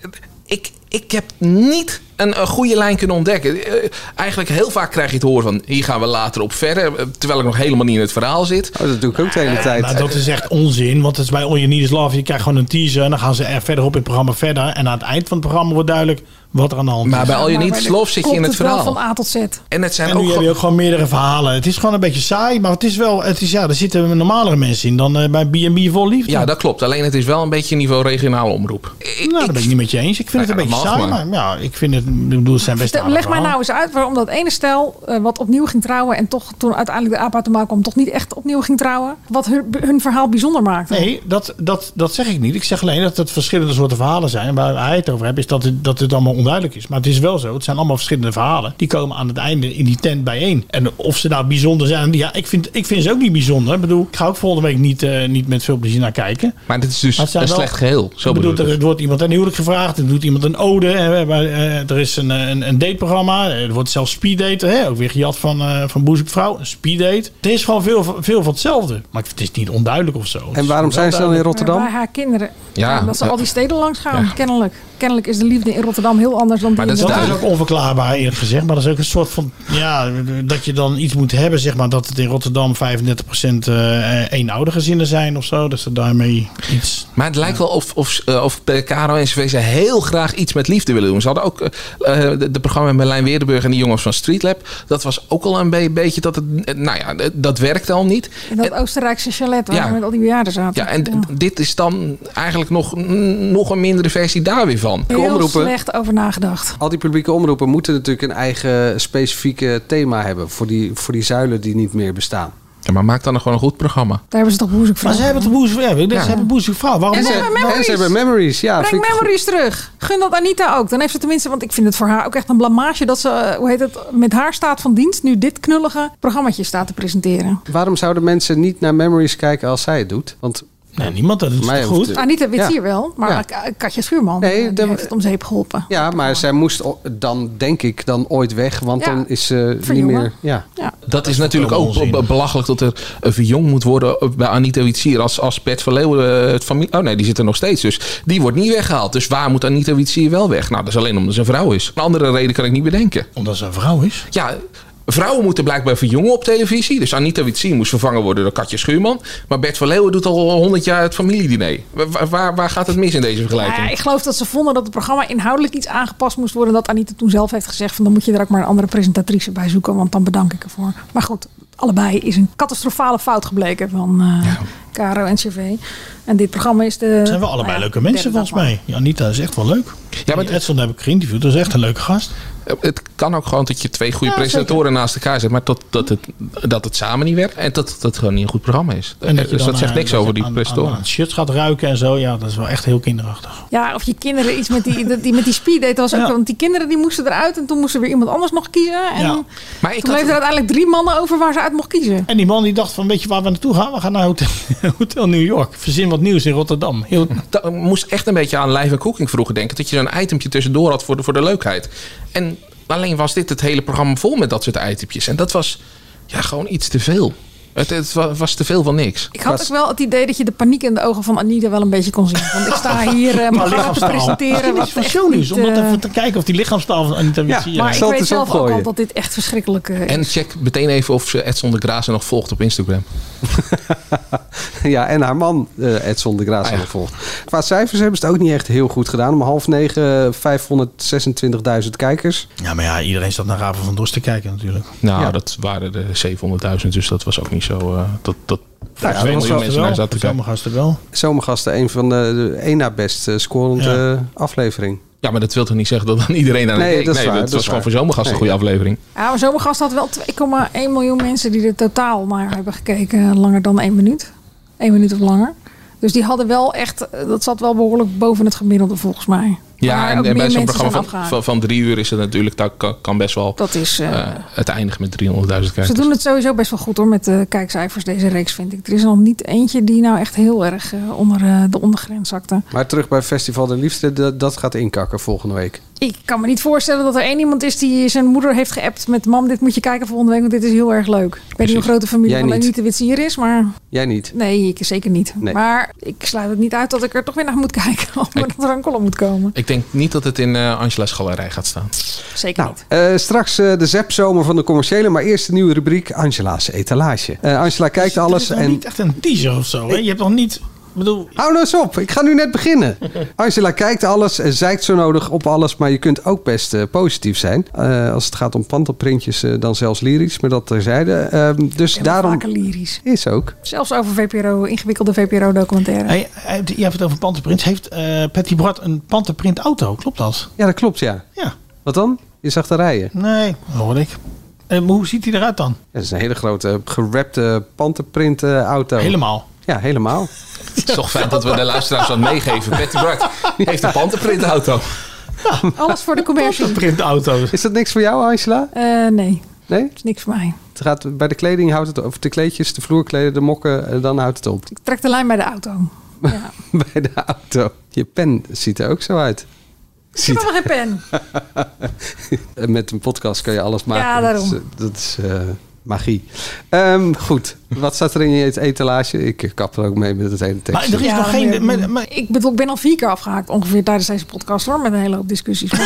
Speaker 8: ik, ik heb niet een, een goede lijn kunnen ontdekken. Eh, Eigenlijk heel vaak krijg je het horen van... hier gaan we later op verder, eh, terwijl ik nog helemaal niet in het verhaal zit.
Speaker 7: Oh, dat doe ik ook de hele tijd.
Speaker 10: Maar nou, dat is echt onzin, want het is bij All You Need Is Love. Je krijgt gewoon een teaser en dan gaan ze er verder op in het programma verder. En aan het eind van het programma wordt duidelijk wat er aan de hand is.
Speaker 8: Maar bij All You Need Is Love zit je in
Speaker 9: Klopt
Speaker 8: het
Speaker 9: wel
Speaker 8: verhaal.
Speaker 9: van A tot Z.
Speaker 8: En het zijn
Speaker 10: En
Speaker 8: ook
Speaker 10: nu heb
Speaker 8: gewoon-
Speaker 10: je ook gewoon meerdere verhalen. Het is gewoon een beetje saai, maar het is wel... Het is, ja, er zitten normalere mensen in dan eh, bij B&B Vol Liefde.
Speaker 8: Ja, dat klopt. Alleen het is wel een beetje niveau regionale omroep. Ik,
Speaker 10: nou, dat ben ik niet met je eens. Ik vind het een beetje saai, maar ja, ik vind het... Ik bedoel, het zijn best
Speaker 9: Stel,
Speaker 10: aardige
Speaker 9: Leg mij nou
Speaker 10: verhalen.
Speaker 9: eens uit waarom dat ene stel, eh, wat opnieuw ging trouwen en toch toen uiteindelijk de aap uit de maak kwam, toch niet echt opnieuw ging trouwen, wat hun, hun verhaal bijzonder maakte.
Speaker 10: Nee, dat, dat, dat zeg ik niet. Ik zeg alleen dat het verschillende soorten verhalen zijn. En Waar hij het over heeft, is dat het, dat het allemaal onduidelijk is. Maar het is wel zo. Het zijn allemaal verschillende verhalen. Die komen aan het einde in die tent bijeen. En of ze nou bijzonder zijn. Ja, ik vind, ik vind ze ook niet bijzonder. Ik bedoel, ik ga ook volgende week niet, eh, niet met veel plezier naar kijken.
Speaker 8: Maar dit is dus
Speaker 10: het zijn
Speaker 8: een
Speaker 10: wel-
Speaker 8: slecht geheel. Zo
Speaker 10: ik
Speaker 8: bedoel
Speaker 10: bedoel,
Speaker 8: ik het.
Speaker 10: er, er wordt iemand een huwelijk gevraagd. Er doet iemand een ode. hè, we hebben, eh, er is een, eh, een, een dateprogramma. Er wordt zelfs speeddate. Hè, ook weer gejat van, eh van boezem vrouw. Een speeddate. Het is gewoon veel, veel van hetzelfde. Maar het is niet onduidelijk of zo.
Speaker 7: En waarom zijn ze dan in Rotterdam?
Speaker 9: Bij haar kinderen. eh,
Speaker 10: Ja.
Speaker 9: dat ze al die steden langs gaan,
Speaker 10: Ja.
Speaker 9: kennelijk. Kennelijk is de liefde in Rotterdam heel anders dan die
Speaker 10: Maar
Speaker 9: in
Speaker 10: dat is,
Speaker 9: Rotterdam.
Speaker 10: ook onverklaarbaar eerlijk gezegd. Maar dat is ook een soort van... Ja, dat je dan iets moet hebben, zeg maar. Dat het in Rotterdam 35% eh eenoudergezinnen zijn of zo. Dus dat daarmee iets...
Speaker 8: Maar het lijkt wel of, of, eh, of Caro en CVC heel graag iets met liefde willen doen. Ze hadden ook eh, eh, de, de programma met Lijn Weerdenburg en die jongens van Streetlab. Dat was ook al een be- beetje dat het... eh, Nou ja, eh, dat werkte al niet.
Speaker 9: In dat Oostenrijkse chalet waar
Speaker 8: Ja.
Speaker 9: we met al die bejaarden zaten.
Speaker 8: Ja, en d- dit is dan eigenlijk nog, n- nog een mindere versie daar weer van.
Speaker 9: Heel slecht over nagedacht.
Speaker 7: Al die publieke omroepen moeten natuurlijk een eigen specifieke thema hebben. Voor die, voor die zuilen die niet meer bestaan.
Speaker 8: Ja, maar maak dan gewoon een goed programma.
Speaker 9: Daar hebben ze toch boezekvrouw.
Speaker 10: Maar ze hebben het boezem... Ja,
Speaker 9: Ja.
Speaker 10: Ze hebben boezemvrouw. Waarom
Speaker 9: En ze
Speaker 10: niet?
Speaker 9: hebben memories.
Speaker 7: En ze hebben memories. Ja,
Speaker 9: Breng
Speaker 7: vind ik goed.
Speaker 9: memories terug. Gun dat Anita ook. Dan heeft ze tenminste, want ik vind het voor haar ook echt een blamage dat ze, eh, hoe heet het, met haar staat van dienst nu dit knullige programmaatje staat te presenteren.
Speaker 7: Waarom zouden mensen niet naar memories kijken als zij het doet? Want
Speaker 10: nee, niemand dat doet
Speaker 7: mij hoeft het-
Speaker 9: Anita weet
Speaker 7: Ja.
Speaker 9: hier wel, maar
Speaker 7: Ja.
Speaker 9: Ka- Katja Schuurman eh, die heeft het om zeep geholpen.
Speaker 7: Ja, maar zij moest o- dan denk ik dan ooit weg, want
Speaker 9: Ja.
Speaker 7: dan is ze niet
Speaker 9: Verjongen.
Speaker 7: meer. Ja. (laughs)
Speaker 8: Dat is natuurlijk ook be- belachelijk dat er eh, verjongd moet worden bij Anita Witsier. Als, als Bert van Leeuwen eh, het familie... Oh nee, die zit er nog steeds. Dus die wordt niet weggehaald. Dus waar moet Anita Witsier wel weg? Nou, dat is alleen omdat ze een vrouw is. Een andere reden kan ik niet bedenken.
Speaker 10: Omdat ze een vrouw is?
Speaker 8: Ja, vrouwen moeten blijkbaar verjongen op televisie. Dus Anita Witsier moest vervangen worden door Katje Schuurman. Maar Bert van Leeuwen doet al 100 jaar het familiediner. Wa- wa- Waar, waar, gaat het mis in deze vergelijking?
Speaker 9: Nou ja, ik geloof dat ze vonden dat het programma inhoudelijk iets aangepast moest worden. Dat Anita toen zelf heeft gezegd van dan moet je er ook maar een andere presentatrice bij zoeken. Want dan bedank ik ervoor. Maar goed, allebei is een catastrofale fout gebleken van eh Caro en CV. En dit programma is de...
Speaker 10: Het zijn wel allebei
Speaker 9: nou ja,
Speaker 10: leuke mensen
Speaker 9: derde
Speaker 10: volgens mij. Ja, Anita is echt wel leuk. Ja, maar Edson heb ik geïnterviewd. Dat is echt een leuke gast.
Speaker 8: Het kan ook gewoon dat je twee goede
Speaker 10: Ja,
Speaker 8: presentatoren naast elkaar zet, maar dat, dat, het, dat het samen niet werkt en dat, dat het gewoon niet een goed programma is.
Speaker 10: je
Speaker 8: dus
Speaker 10: dan,
Speaker 8: dat zegt
Speaker 10: eh,
Speaker 8: niks
Speaker 10: je
Speaker 8: over die
Speaker 10: aan-
Speaker 8: presentatoren.
Speaker 10: aan- aan shirts gaat ruiken en zo. Ja, dat is wel echt heel kinderachtig.
Speaker 9: Ja, of je kinderen iets met die, dat die, met die speeddate was ook. Want die kinderen die moesten eruit en toen moesten weer iemand anders nog kiezen. En
Speaker 10: Ja.
Speaker 8: Maar
Speaker 9: toen bleef er uiteindelijk drie mannen over waar ze uit mocht kiezen.
Speaker 10: En die man die dacht van, weet je waar we naartoe gaan? We gaan naar Hotel, (laughs) Hotel New York. Verzin wat nieuws in Rotterdam.
Speaker 9: (laughs)
Speaker 10: Heel,
Speaker 8: Dat moest echt een beetje aan live en cooking vroeger denken, dat je zo'n itempje tussendoor had voor de, voor de leukheid. En alleen was dit het hele programma vol met dat soort itempjes. En dat was ja, gewoon iets te veel. Het, het wa- was te veel van niks.
Speaker 9: Ik had ook wel het idee dat je de paniek in de ogen van Anita wel een beetje kon zien. Want ik sta hier
Speaker 8: (laughs)
Speaker 9: eh mijn programma te presenteren.
Speaker 10: Misschien
Speaker 9: Wat
Speaker 10: is het
Speaker 9: echt
Speaker 10: voor shownieuws.
Speaker 9: niet,
Speaker 10: Om dat
Speaker 9: eh,
Speaker 10: even te kijken of die lichaamstaal van Anita
Speaker 9: Ja,
Speaker 10: Witsier-
Speaker 9: maar ik weet zelf ook al dat dit echt verschrikkelijk eh, is.
Speaker 8: En check meteen even of ze Edson de Grazen nog volgt op Instagram.
Speaker 7: ja, en haar man eh, Edson de Graas hebben gevolgd. Qua cijfers hebben ze het ook niet echt heel goed gedaan. Om half negen eh, 526.000 kijkers.
Speaker 10: Ja, maar ja, iedereen staat naar Raven van Dorst te kijken natuurlijk.
Speaker 8: Nou,
Speaker 10: Ja.
Speaker 8: dat waren de 700.000, dus dat was ook niet zo. eh, dat, dat,
Speaker 7: Nou
Speaker 10: Ja,
Speaker 8: daar miljoen mensen naar zaten te kijken.
Speaker 10: Zomergasten wel.
Speaker 7: Zomergasten, een van de, de één na best eh, scorende
Speaker 8: Ja.
Speaker 7: eh, aflevering.
Speaker 8: Ja, maar dat wil toch niet zeggen dat dan (laughs) iedereen aan
Speaker 7: Nee,
Speaker 8: het
Speaker 7: dat is waar,
Speaker 8: Het
Speaker 7: dat is
Speaker 8: was gewoon
Speaker 7: waar.
Speaker 8: voor zomergast een
Speaker 7: Nee.
Speaker 8: goede aflevering.
Speaker 9: Ja, maar Zomergast had wel 2,1 miljoen mensen die er totaal naar hebben gekeken. eh, Langer dan één minuut. Eén minuut of langer. Dus die hadden wel echt, eh, dat zat wel behoorlijk boven het gemiddelde volgens mij.
Speaker 8: Ja,
Speaker 9: Maar
Speaker 8: en,
Speaker 9: ook
Speaker 8: en
Speaker 9: meer
Speaker 8: bij zo'n
Speaker 9: mensen zijn
Speaker 8: programma van,
Speaker 9: afgehaakt.
Speaker 8: van, van drie uur is het natuurlijk, dat kan, kan best wel
Speaker 9: Dat is, eh,
Speaker 8: eh, het eindigen met 300.000 kijkers.
Speaker 9: Ze doen het sowieso best wel goed hoor met de kijkcijfers deze reeks vind ik. Er is nog niet eentje die nou echt heel erg eh, onder eh, de ondergrens zakte.
Speaker 7: Maar terug bij Festival der Liefde, dat, dat gaat inkakken volgende week.
Speaker 9: Ik kan me niet voorstellen dat er één iemand is die zijn moeder heeft geappt met... Mam, dit moet je kijken volgende week, want dit is heel erg leuk. Ik weet niet hoe grote familie
Speaker 7: Jij
Speaker 9: van
Speaker 7: niet.
Speaker 9: niet. de Wits hier is, maar...
Speaker 7: Jij niet.
Speaker 9: Nee, ik zeker niet.
Speaker 7: Nee.
Speaker 9: Maar ik sluit het niet uit dat ik er toch weer naar moet kijken. (laughs) Of dat er een column moet komen.
Speaker 8: Ik denk niet dat het in eh, Angela's galerij gaat
Speaker 9: (laughs)
Speaker 8: staan.
Speaker 9: Zeker niet.
Speaker 7: Eh, straks eh, de zepzomer van de commerciële, maar eerst de nieuwe rubriek Angela's etalage. Eh, Angela kijkt alles
Speaker 10: Het is nog
Speaker 7: en...
Speaker 10: niet echt een teaser of zo. Hè? Je hebt nog niet... ik Bedoel...
Speaker 7: Hou nou eens op, ik ga nu net beginnen. Angela kijkt alles en zeikt zo nodig op alles, maar je kunt ook best eh, positief zijn. Eh, als het gaat om pantelprintjes, eh, dan zelfs lyrisch, maar dat terzijde. Ehm dus daarom...
Speaker 9: vaker lyrisch.
Speaker 7: Is ook.
Speaker 9: Zelfs over VPRO, ingewikkelde VPRO-documentaire.
Speaker 10: Hey, eh, je hebt het over pantenprint. Heeft eh, Patty Brat een pantenprint auto? Klopt dat?
Speaker 7: Ja, dat klopt, ja.
Speaker 10: Ja.
Speaker 7: Wat dan? Je zag de rijen.
Speaker 10: Nee, hoor ik. En hoe ziet hij eruit dan?
Speaker 9: Oh.
Speaker 7: Dat is een hele grote eh, gerapte pantenprint eh, auto.
Speaker 10: Helemaal?
Speaker 7: Ja, helemaal.
Speaker 8: Het is toch fijn dat we de luisteraars wat meegeven. Betty
Speaker 9: (laughs)
Speaker 8: Bart heeft een pantenprintauto.
Speaker 9: Alles
Speaker 7: (laughs)
Speaker 9: voor de commercie.
Speaker 10: Printauto.
Speaker 7: Is dat niks voor jou, Angela?
Speaker 9: Eh, nee,
Speaker 7: Nee?
Speaker 9: dat is niks voor mij.
Speaker 7: Het gaat, bij de kleding houdt het op. Of de kleedjes, de vloerkleden, de mokken, eh, dan houdt het op. (laughs)
Speaker 9: Ik trek de lijn bij de auto. Ik
Speaker 7: bij de auto. Je pen ziet er ook zo uit.
Speaker 9: heb
Speaker 7: Ziet.
Speaker 9: helemaal geen
Speaker 7: (laughs)
Speaker 9: pen.
Speaker 7: Met een podcast kan je alles maken.
Speaker 9: Ja, daarom.
Speaker 7: Dat is, dat is, eh, magie. Ehm, goed, wat staat er in je etalage? Ik kap (laughs) er ook mee met het hele tekst.
Speaker 9: Ja, maar- Ik bedoel, ik ben al vier keer afgehaakt ongeveer tijdens deze podcast hoor. Met een hele hoop
Speaker 7: (laughs)
Speaker 9: discussies. Maar,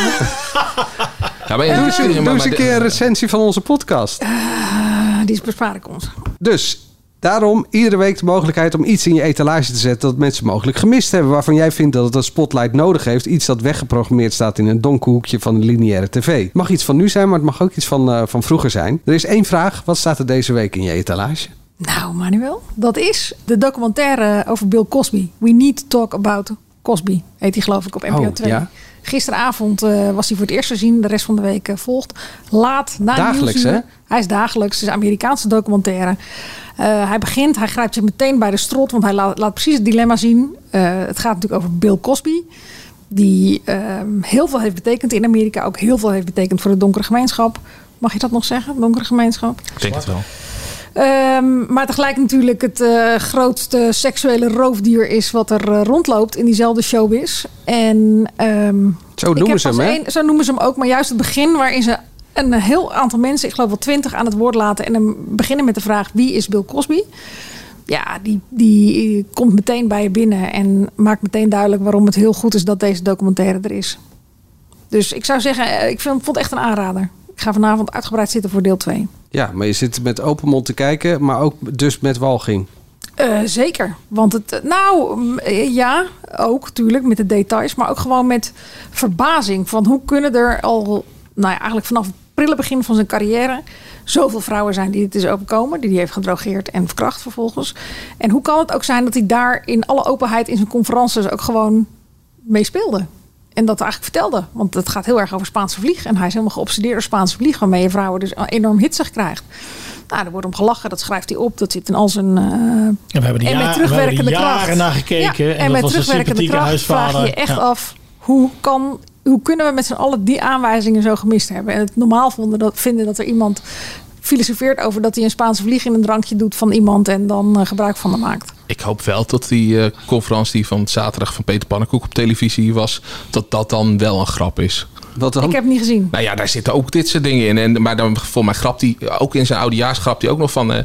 Speaker 8: Ja, maar
Speaker 7: Doe eens,
Speaker 8: maar-
Speaker 7: doe eens
Speaker 8: maar-
Speaker 7: een keer een recensie van onze podcast.
Speaker 9: eh, die is bespaar ik ons.
Speaker 7: Dus daarom iedere week de mogelijkheid om iets in je etalage te zetten dat mensen mogelijk gemist hebben. Waarvan jij vindt dat het een spotlight nodig heeft. Iets dat weggeprogrammeerd staat in een donker hoekje van de lineaire tv. Het mag iets van nu zijn, maar het mag ook iets van, eh, van vroeger zijn. Er is één vraag. Wat staat er deze week in je etalage?
Speaker 9: Nou, Manuel, dat is de documentaire over Bill Cosby. We need to talk about Cosby, heet die geloof ik op NPO
Speaker 7: Oh,
Speaker 9: 2.
Speaker 7: ja.
Speaker 9: Gisteravond eh, was hij voor het eerst te zien. De rest van de week eh, volgt. Laat na
Speaker 7: Dagelijks,
Speaker 9: nieuwsuur.
Speaker 7: hè?
Speaker 9: Hij is dagelijks. Het is een Amerikaanse documentaire. Eh, hij begint, hij grijpt zich meteen bij de strot. Want hij laat, laat precies het dilemma zien. Eh, het gaat natuurlijk over Bill Cosby. Die ehm, heel veel heeft betekend in Amerika. Ook heel veel heeft betekend voor de donkere gemeenschap. Mag je dat nog zeggen? Donkere gemeenschap?
Speaker 8: Ik denk het wel.
Speaker 9: Ehm, maar tegelijk natuurlijk het eh, grootste seksuele roofdier is wat er eh, rondloopt in diezelfde showbiz. En, ehm,
Speaker 7: Zo
Speaker 9: ik
Speaker 7: noemen
Speaker 9: heb
Speaker 7: ze hem,
Speaker 9: pas
Speaker 7: hè?
Speaker 9: één- zo noemen ze hem ook. Maar juist het begin waarin ze een heel aantal mensen, ik geloof wel twintig, aan het woord laten. En hem beginnen met de vraag, wie is Bill Cosby? Ja, die, die eh, komt meteen bij je binnen en maakt meteen duidelijk waarom het heel goed is dat deze documentaire er is. Dus ik zou zeggen, eh, ik vind, vond het echt een aanrader. Ik ga vanavond uitgebreid zitten voor deel 2.
Speaker 7: Ja, maar je zit met open mond te kijken, maar ook dus met walging.
Speaker 9: Eh, zeker. Want het, eh, nou mm, eh, ja, ook natuurlijk met de details, maar ook gewoon met verbazing van hoe kunnen er al, nou ja, eigenlijk vanaf het prille begin van zijn carrière zoveel vrouwen zijn die dit is overkomen, die hij heeft gedrogeerd en verkracht vervolgens. En hoe kan het ook zijn dat hij daar in alle openheid in zijn conferences ook gewoon mee speelde? En dat eigenlijk vertelde. Want het gaat heel erg over Spaanse vlieg. En hij is helemaal geobsedeerd door Spaanse vlieg. Waarmee je vrouwen dus enorm hitsig krijgt. Nou, daar wordt om gelachen. Dat schrijft hij op. Dat zit in al zijn eh,
Speaker 10: En we hebben er ja- we
Speaker 9: en met
Speaker 10: hebben er
Speaker 9: terugwerkende
Speaker 10: jaren
Speaker 9: kracht.
Speaker 10: naar gekeken.
Speaker 9: Ja,
Speaker 10: En
Speaker 9: en
Speaker 10: dat
Speaker 9: met
Speaker 10: was een
Speaker 9: terugwerkende
Speaker 10: sympathieke
Speaker 9: kracht
Speaker 10: huisvader.
Speaker 9: vraag je je
Speaker 10: Ja.
Speaker 9: echt af... Hoe, kan, hoe kunnen we met z'n allen die aanwijzingen zo gemist hebben? En het normaal vonden dat, vinden dat er iemand filosofeert over... dat hij een Spaanse vlieg in een drankje doet van iemand... en dan eh, gebruik van hem maakt.
Speaker 8: Ik hoop wel dat die eh, conferentie die van zaterdag van Peter Pannenkoek op televisie was, dat dat dan wel een grap is.
Speaker 7: Wat
Speaker 9: Ik heb het niet gezien.
Speaker 8: Nou ja, daar zitten ook dit soort dingen in. En, maar dan voor mij grapt hij, ook in zijn oudejaars grapt hij ook nog van. eh,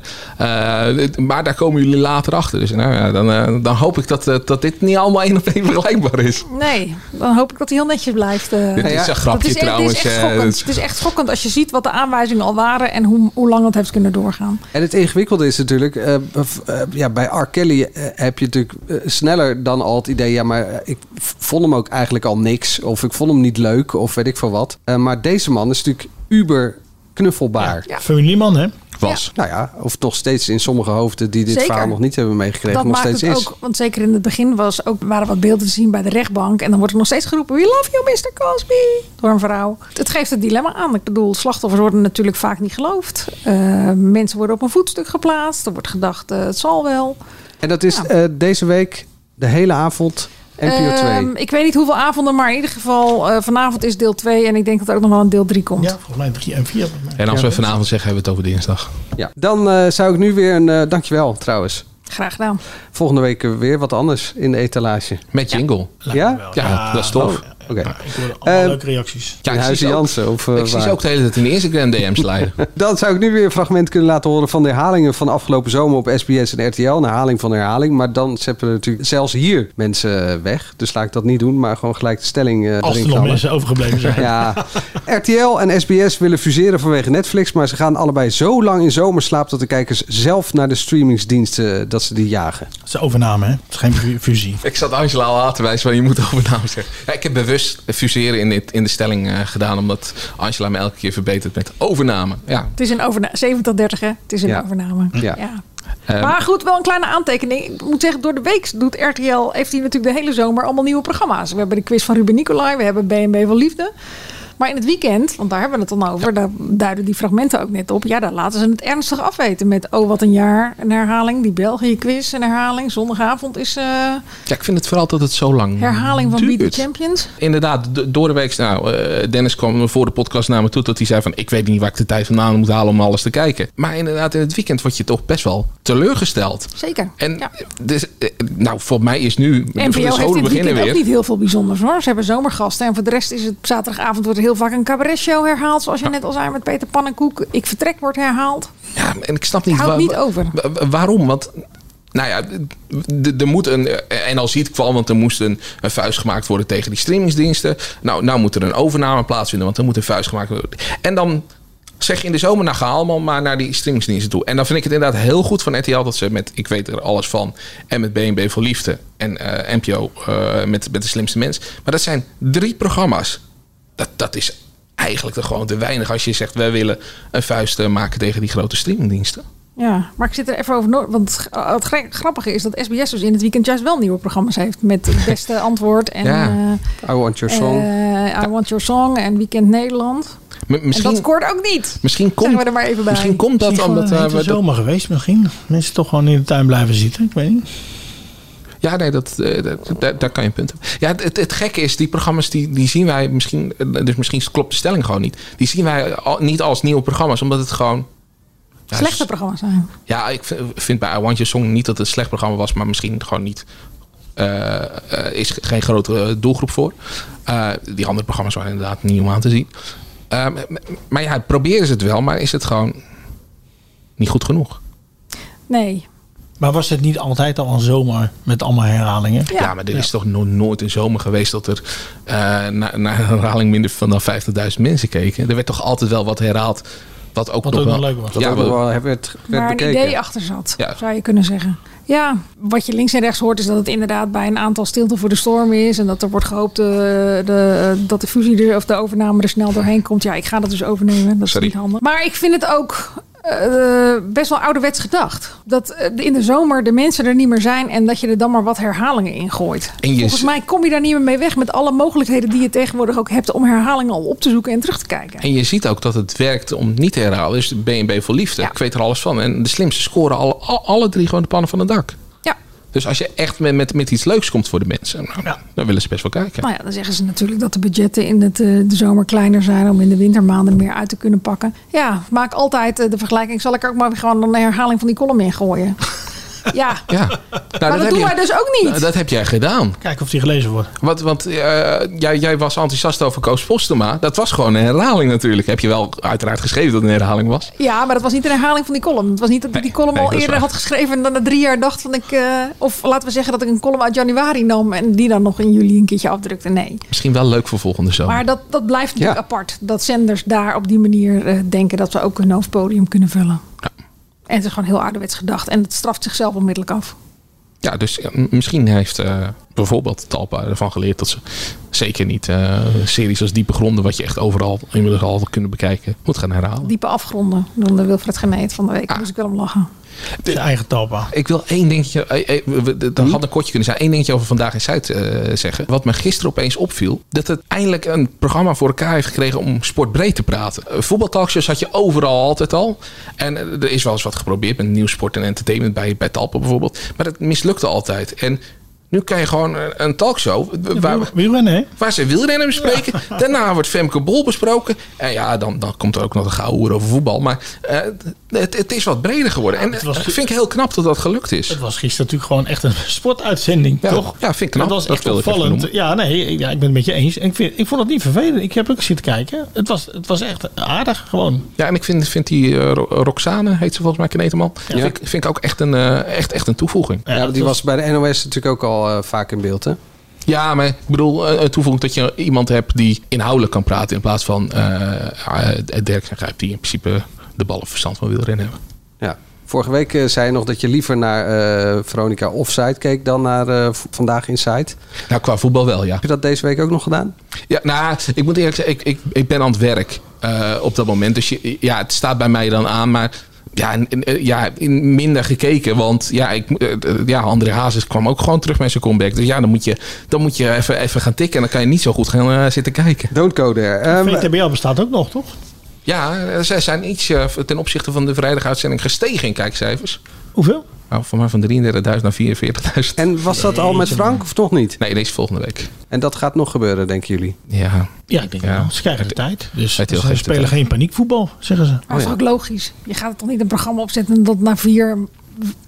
Speaker 8: eh, dit- maar daar komen jullie later achter. Dus nou ja, dan, eh, dan hoop ik dat, eh, dat dit niet allemaal één op één vergelijkbaar is.
Speaker 9: Nee, dan hoop ik dat hij heel netjes blijft. eh.
Speaker 8: Dit is een
Speaker 9: Dat
Speaker 8: grapje
Speaker 9: is, echt-
Speaker 8: trouwens,
Speaker 9: Dit is echt
Speaker 8: eh,
Speaker 9: schokkend.
Speaker 8: dat-
Speaker 9: Het is echt schokkend als je ziet wat de aanwijzingen al waren... en hoe, hoe lang dat heeft kunnen doorgaan.
Speaker 7: En het ingewikkelde is natuurlijk, eh, v- eh, ja, bij R. Kelly eh, heb je natuurlijk eh, sneller dan al het idee, ja, maar eh, ik v- vond hem ook eigenlijk al niks, of ik vond hem niet leuk, of weet ik veel wat. Eh, maar deze man is natuurlijk uber knuffelbaar.
Speaker 10: Familieman, hè?
Speaker 8: Was.
Speaker 7: Nou ja, of nog steeds in sommige hoofden die dit
Speaker 9: Zeker.
Speaker 7: verhaal nog niet hebben meegekregen,
Speaker 9: dat
Speaker 7: nog
Speaker 9: maakt
Speaker 7: steeds
Speaker 9: het
Speaker 7: is.
Speaker 9: ook, want zeker in het begin was ook, waren wat beelden te zien bij de rechtbank. En dan wordt er nog steeds geroepen, we love you Mr. Cosby, door een vrouw. Het geeft het dilemma aan. Ik bedoel, slachtoffers worden natuurlijk vaak niet geloofd. Eh, mensen worden op een voetstuk geplaatst. Er wordt gedacht, eh, het zal wel.
Speaker 7: En dat is eh, deze week de hele avond NPO 2.
Speaker 9: Ehm, ik weet niet hoeveel avonden, maar in ieder geval eh, vanavond is deel 2. En ik denk dat er ook nog wel een deel 3 komt.
Speaker 10: Volgens mij drie en vier.
Speaker 8: En als we vanavond zeggen, hebben we het over dinsdag.
Speaker 7: ja. Dan eh, zou ik nu weer een, eh, dankjewel trouwens.
Speaker 9: Graag gedaan.
Speaker 7: Volgende week weer wat anders in de etalage.
Speaker 8: Met jingle.
Speaker 7: Ja? Oh,
Speaker 8: Ja, dat is tof.
Speaker 7: Oké.
Speaker 10: Ik hoorde
Speaker 9: Eh,
Speaker 10: allemaal leuke reacties.
Speaker 7: in
Speaker 8: ik zie
Speaker 7: Huizen
Speaker 8: ze ook-
Speaker 7: Jansen of, eh,
Speaker 8: ik zie ze
Speaker 7: waar?
Speaker 8: ook de hele tijd in de Instagram (laughs) DM's leiden.
Speaker 7: Dan zou ik nu weer een fragment kunnen laten horen van de herhalingen van afgelopen zomer op SBS en RTL. Een herhaling van een herhaling. Maar dan zetten we natuurlijk zelfs hier mensen weg. Dus laat ik dat niet doen, maar gewoon gelijk de stelling eh,
Speaker 10: Als er
Speaker 7: erin
Speaker 10: nog
Speaker 7: knallen.
Speaker 10: mensen overgebleven
Speaker 9: (laughs)
Speaker 10: zijn.
Speaker 7: Ja. (laughs) RTL en SBS willen fuseren vanwege Netflix. Maar ze gaan allebei zo lang in zomerslaap dat de kijkers zelf naar de streamingsdiensten eh, dat ze die jagen.
Speaker 10: Het is een overname, hè? Het is geen fu- fusie.
Speaker 8: Ik zat Angela al aan te wijzen van je moet overnaam zeggen. Ja, ik heb bewust fuseren in, dit, in de stelling eh, gedaan, omdat Angela me elke keer verbetert met overname. Ja.
Speaker 9: Het is een overname. 70-30, hè? Het is een
Speaker 8: Ja.
Speaker 9: overname.
Speaker 8: Ja. Ehm,
Speaker 9: maar goed, wel een kleine aantekening. Ik moet zeggen, door de week doet RTL, heeft hij natuurlijk de hele zomer allemaal nieuwe programma's. We hebben de quiz van Ruben Nicolai, we hebben BNB van Liefde. Maar in het weekend, want daar hebben we het dan over, daar duiden die fragmenten ook net op. Ja, daar laten ze het ernstig afweten met Oh, wat een jaar, een herhaling. Die België-quiz, een herhaling. Zondagavond is eh,
Speaker 8: ja, ik vind het vooral dat het zo lang
Speaker 9: herhaling van Beat
Speaker 8: duurt.
Speaker 9: the Champions.
Speaker 8: Inderdaad, d- door de week. Nou, eh, Dennis kwam voor de podcast naar me toe dat hij zei van... ik weet niet waar ik de tijd vandaan moet halen om alles te kijken. Maar inderdaad, in het weekend word je toch best wel teleurgesteld.
Speaker 9: Zeker.
Speaker 8: En dus, eh, nou, voor mij is nu...
Speaker 9: NPO
Speaker 8: de
Speaker 9: heeft dit
Speaker 8: scholen dus beginnen
Speaker 9: weekend
Speaker 8: weer.
Speaker 9: ook niet heel veel bijzonders hoor. Ze hebben zomergasten en voor de rest is het zaterdagavond wordt er heel vaak een cabaretshow herhaald. Zoals je net al zei met Peter Pannenkoek. Ik vertrek wordt herhaald.
Speaker 8: Ja, en ik snap niet...
Speaker 9: Het houdt
Speaker 8: waar-
Speaker 9: niet over.
Speaker 8: wa- wa- Waarom? Want... Nou ja, d- d- er moet een. eh, En al ziet kwam, want er moest een, een vuist gemaakt worden tegen die streamingsdiensten. Nou, nou moet er een overname plaatsvinden, want er moet een vuist gemaakt worden. En dan zeg je in de zomer, nou ga allemaal maar naar die streamingsdiensten toe. En dan vind ik het inderdaad heel goed van RTL dat ze met Ik weet er alles van en met BNB voor Liefde en eh NPO eh, met, met de slimste mens. Maar dat zijn drie programma's. Dat, dat is eigenlijk toch gewoon te weinig als je zegt, wij willen een vuist eh, maken tegen die grote streamingdiensten.
Speaker 9: Ja, maar ik zit er even over noord. Want het, eh, het gra- grappige is dat SBS dus in het weekend juist wel nieuwe programma's heeft. Met het beste
Speaker 8: (laughs)
Speaker 9: antwoord en
Speaker 8: Ja.
Speaker 7: I want
Speaker 9: eh, eh, I Want Your Song en Weekend Nederland.
Speaker 8: M-
Speaker 9: En
Speaker 8: misschien-
Speaker 9: dat scoort ook niet.
Speaker 8: Misschien
Speaker 9: komt, we er maar even bij.
Speaker 8: misschien komt dat
Speaker 10: Misschien
Speaker 8: omdat,
Speaker 10: gewoon een
Speaker 8: eh, we
Speaker 10: hete
Speaker 8: dat-
Speaker 10: zomer geweest misschien. Mensen toch gewoon in de tuin blijven zitten. Ik weet niet.
Speaker 8: Ja, nee, dat, eh, dat, daar, daar kan je punten. Ja, het- het, het gekke is, die programma's die, die zien wij misschien, eh, dus misschien klopt de stelling gewoon niet. Die zien wij al, niet als nieuwe programma's, omdat het gewoon. Ja,
Speaker 9: Slechte programma's zijn.
Speaker 8: s- Ja, ik vind, vind bij I Want Your Song niet dat het een slecht programma was, maar misschien gewoon niet. eh, eh, is geen grote eh, doelgroep voor. Eh, die andere programma's waren inderdaad niet om aan te zien. Eh, m- m- maar ja, proberen ze het wel, maar is het gewoon niet goed genoeg?
Speaker 9: Nee.
Speaker 10: Maar was het niet altijd al een zomer met allemaal herhalingen?
Speaker 8: Ja, maar er is toch nog nooit een zomer geweest dat er eh na, na een herhaling minder van dan 50.000 mensen keken. Er werd toch altijd wel wat herhaald. Wat ook,
Speaker 10: Wat
Speaker 8: nog
Speaker 10: ook
Speaker 8: wel,
Speaker 10: nog leuk was.
Speaker 7: Wat ook nog wel werd, werd
Speaker 9: Waar een
Speaker 8: bekeken.
Speaker 9: idee achter zat,
Speaker 8: Ja.
Speaker 9: zou je kunnen zeggen. Ja, wat je links en rechts hoort is dat het inderdaad bij een aantal stilte voor de storm is. En dat er wordt gehoopt eh, de, eh, dat de fusie er, of de overname er snel doorheen komt. Ja, ik ga dat dus overnemen. Dat
Speaker 8: Sorry.
Speaker 9: is niet handig. Maar ik vind het ook eh, best wel ouderwets gedacht. Dat eh, in de zomer de mensen er niet meer zijn en dat je er dan maar wat herhalingen in gooit.
Speaker 8: En je
Speaker 9: Volgens
Speaker 8: z-
Speaker 9: mij kom je daar niet meer mee weg met alle mogelijkheden die je tegenwoordig ook hebt om herhalingen al op te zoeken en terug te kijken.
Speaker 8: En je ziet ook dat het werkt om het niet te herhalen. Dus BNB voor liefde. Ik weet er alles van. En de slimste scoren alle, al- alle drie gewoon de pannen van het dak.
Speaker 9: Ja.
Speaker 8: Dus als je echt met, met, met iets leuks komt voor de mensen, nou, dan willen ze best wel kijken.
Speaker 9: Nou ja, dan zeggen ze natuurlijk dat de budgetten in het, eh, de zomer kleiner zijn om in de wintermaanden meer uit te kunnen pakken. Ja, maak altijd eh, de vergelijking. Zal ik er ook maar weer gewoon een herhaling van die column in
Speaker 8: (laughs)
Speaker 9: gooien? ja. (laughs)
Speaker 8: Ja. Nou,
Speaker 9: maar dat,
Speaker 8: heb
Speaker 9: doen
Speaker 8: je-
Speaker 9: wij dus ook niet.
Speaker 8: Nou, Dat heb jij gedaan.
Speaker 10: Kijken of die gelezen wordt.
Speaker 8: Want, want eh, jij, jij was enthousiast over Koos Postema. Dat was gewoon een herhaling natuurlijk. Heb je wel uiteraard geschreven dat het een herhaling was.
Speaker 9: Ja, maar dat was niet een herhaling van die column. Het was niet dat ik die column
Speaker 8: nee,
Speaker 9: al
Speaker 8: dat is
Speaker 9: eerder
Speaker 8: waar.
Speaker 9: had geschreven en dan na drie jaar dacht van ik... eh, of laten we zeggen dat ik een column uit januari nam en die dan nog in juli een keertje afdrukte. Nee.
Speaker 8: Misschien wel leuk voor volgende zomer.
Speaker 9: Maar dat, dat blijft natuurlijk
Speaker 8: Ja.
Speaker 9: apart. Dat zenders daar op die manier eh, denken dat ze ook een hoofdpodium kunnen vullen. En het is gewoon heel ouderwets gedacht. En het straft zichzelf onmiddellijk af.
Speaker 8: Ja, dus ja, m- misschien heeft eh, bijvoorbeeld Talpa ervan geleerd dat ze zeker niet eh, series als Diepe Gronden, wat je echt overal inmiddels al kunnen bekijken, moet gaan herhalen.
Speaker 9: Diepe afgronden. Dan de Wilfred Geneet van de
Speaker 8: Ah.
Speaker 9: week. Daar moest ik wel om lachen.
Speaker 10: De eigen Talpa.
Speaker 8: Ik wil één dingetje, eh, eh, we- we- dat had een kortje kunnen zijn, één dingetje over Vandaag in Zuid eh, zeggen. Wat me gisteren opeens opviel, dat het eindelijk een programma voor elkaar heeft gekregen om sportbreed te praten. Eh, Voetbaltalkshows had je overal altijd al. En eh, er is wel eens wat geprobeerd met nieuwsport en entertainment bij, bij Talpa bijvoorbeeld. Maar dat mislukte altijd. En Nu kan je gewoon een- een talkshow eh, waar,
Speaker 10: wielrennen, hè?
Speaker 8: waar ze wielrennen bespreken. Daarna wordt Femke Bol besproken. En ja, dan, dan komt er ook nog een gouden hoer over voetbal. Maar eh, het, het is wat breder geworden. en
Speaker 10: het
Speaker 8: dat
Speaker 10: was-
Speaker 8: vind ik heel knap dat dat gelukt is.
Speaker 10: Het was gisteren natuurlijk gewoon echt een (laughs) sportuitzending,
Speaker 8: Ja,
Speaker 10: toch?
Speaker 8: ja, vind ik knap.
Speaker 10: Dat was
Speaker 8: Dat
Speaker 10: echt
Speaker 8: wilde ik even
Speaker 10: opvallend.
Speaker 8: noemen.
Speaker 10: Ja, nee, ja, ik ben het met je eens. En ik, vind, ik vond het niet vervelend. Ik heb ook zitten kijken. Het was, het was echt aardig, gewoon.
Speaker 8: Ja, en ik vind, vind die eh, Ro- Roxane, heet ze volgens mij Kneteman.
Speaker 10: Ja.
Speaker 8: Vind, ik- vind ik ook echt een, eh, echt, echt een toevoeging.
Speaker 7: Ja, die was bij de NOS natuurlijk ook al eh, vaak in beeld, hè?
Speaker 8: Ja, maar ik bedoel, eh, een toevoeging dat je iemand hebt die inhoudelijk kan praten. In plaats van eh eh, Dirk en Grijp, die in principe de ballen verstand van wielrennen hebben.
Speaker 7: Ja. Vorige week eh, zei je nog dat je liever naar eh Veronica Offside keek dan naar eh, v- Vandaag Inside.
Speaker 8: Nou, qua voetbal wel, ja.
Speaker 7: Heb je dat deze week ook nog gedaan?
Speaker 8: Ja, nou, ik moet eerlijk zeggen, ik, ik, ik ben aan het werk eh, op dat moment. Dus je, ja, het staat bij mij dan aan, maar ja, en- en, eh, ja in minder gekeken. Want ja, ik, moet- eh, eh, ja, André Hazes kwam ook gewoon terug met zijn comeback. Dus ja, dan moet je, dan moet je even, even gaan tikken en dan kan je niet zo goed gaan eh, zitten kijken.
Speaker 7: Don't go there. Ehm,
Speaker 10: VTBL bestaat ook nog, toch?
Speaker 8: Ja, eh, zij zijn iets eh, ten opzichte van de vrijdaguitzending gestegen in kijkcijfers.
Speaker 10: Hoeveel?
Speaker 8: Nou, voor mij van 33.000 naar 44.000.
Speaker 7: En was dat al met Frank of toch niet?
Speaker 8: Nee, deze volgende week.
Speaker 7: En dat gaat nog gebeuren, denken jullie?
Speaker 8: Ja.
Speaker 10: Ja, ik denk
Speaker 8: Ja.
Speaker 10: wel. Ze krijgen de tijd. Dus
Speaker 8: Hij heeft heel
Speaker 10: ze
Speaker 8: geen
Speaker 10: spelen
Speaker 8: tijd.
Speaker 10: geen paniekvoetbal, zeggen ze.
Speaker 8: Oh
Speaker 9: Maar dat is ook logisch. Je gaat toch niet een programma opzetten en dat na vier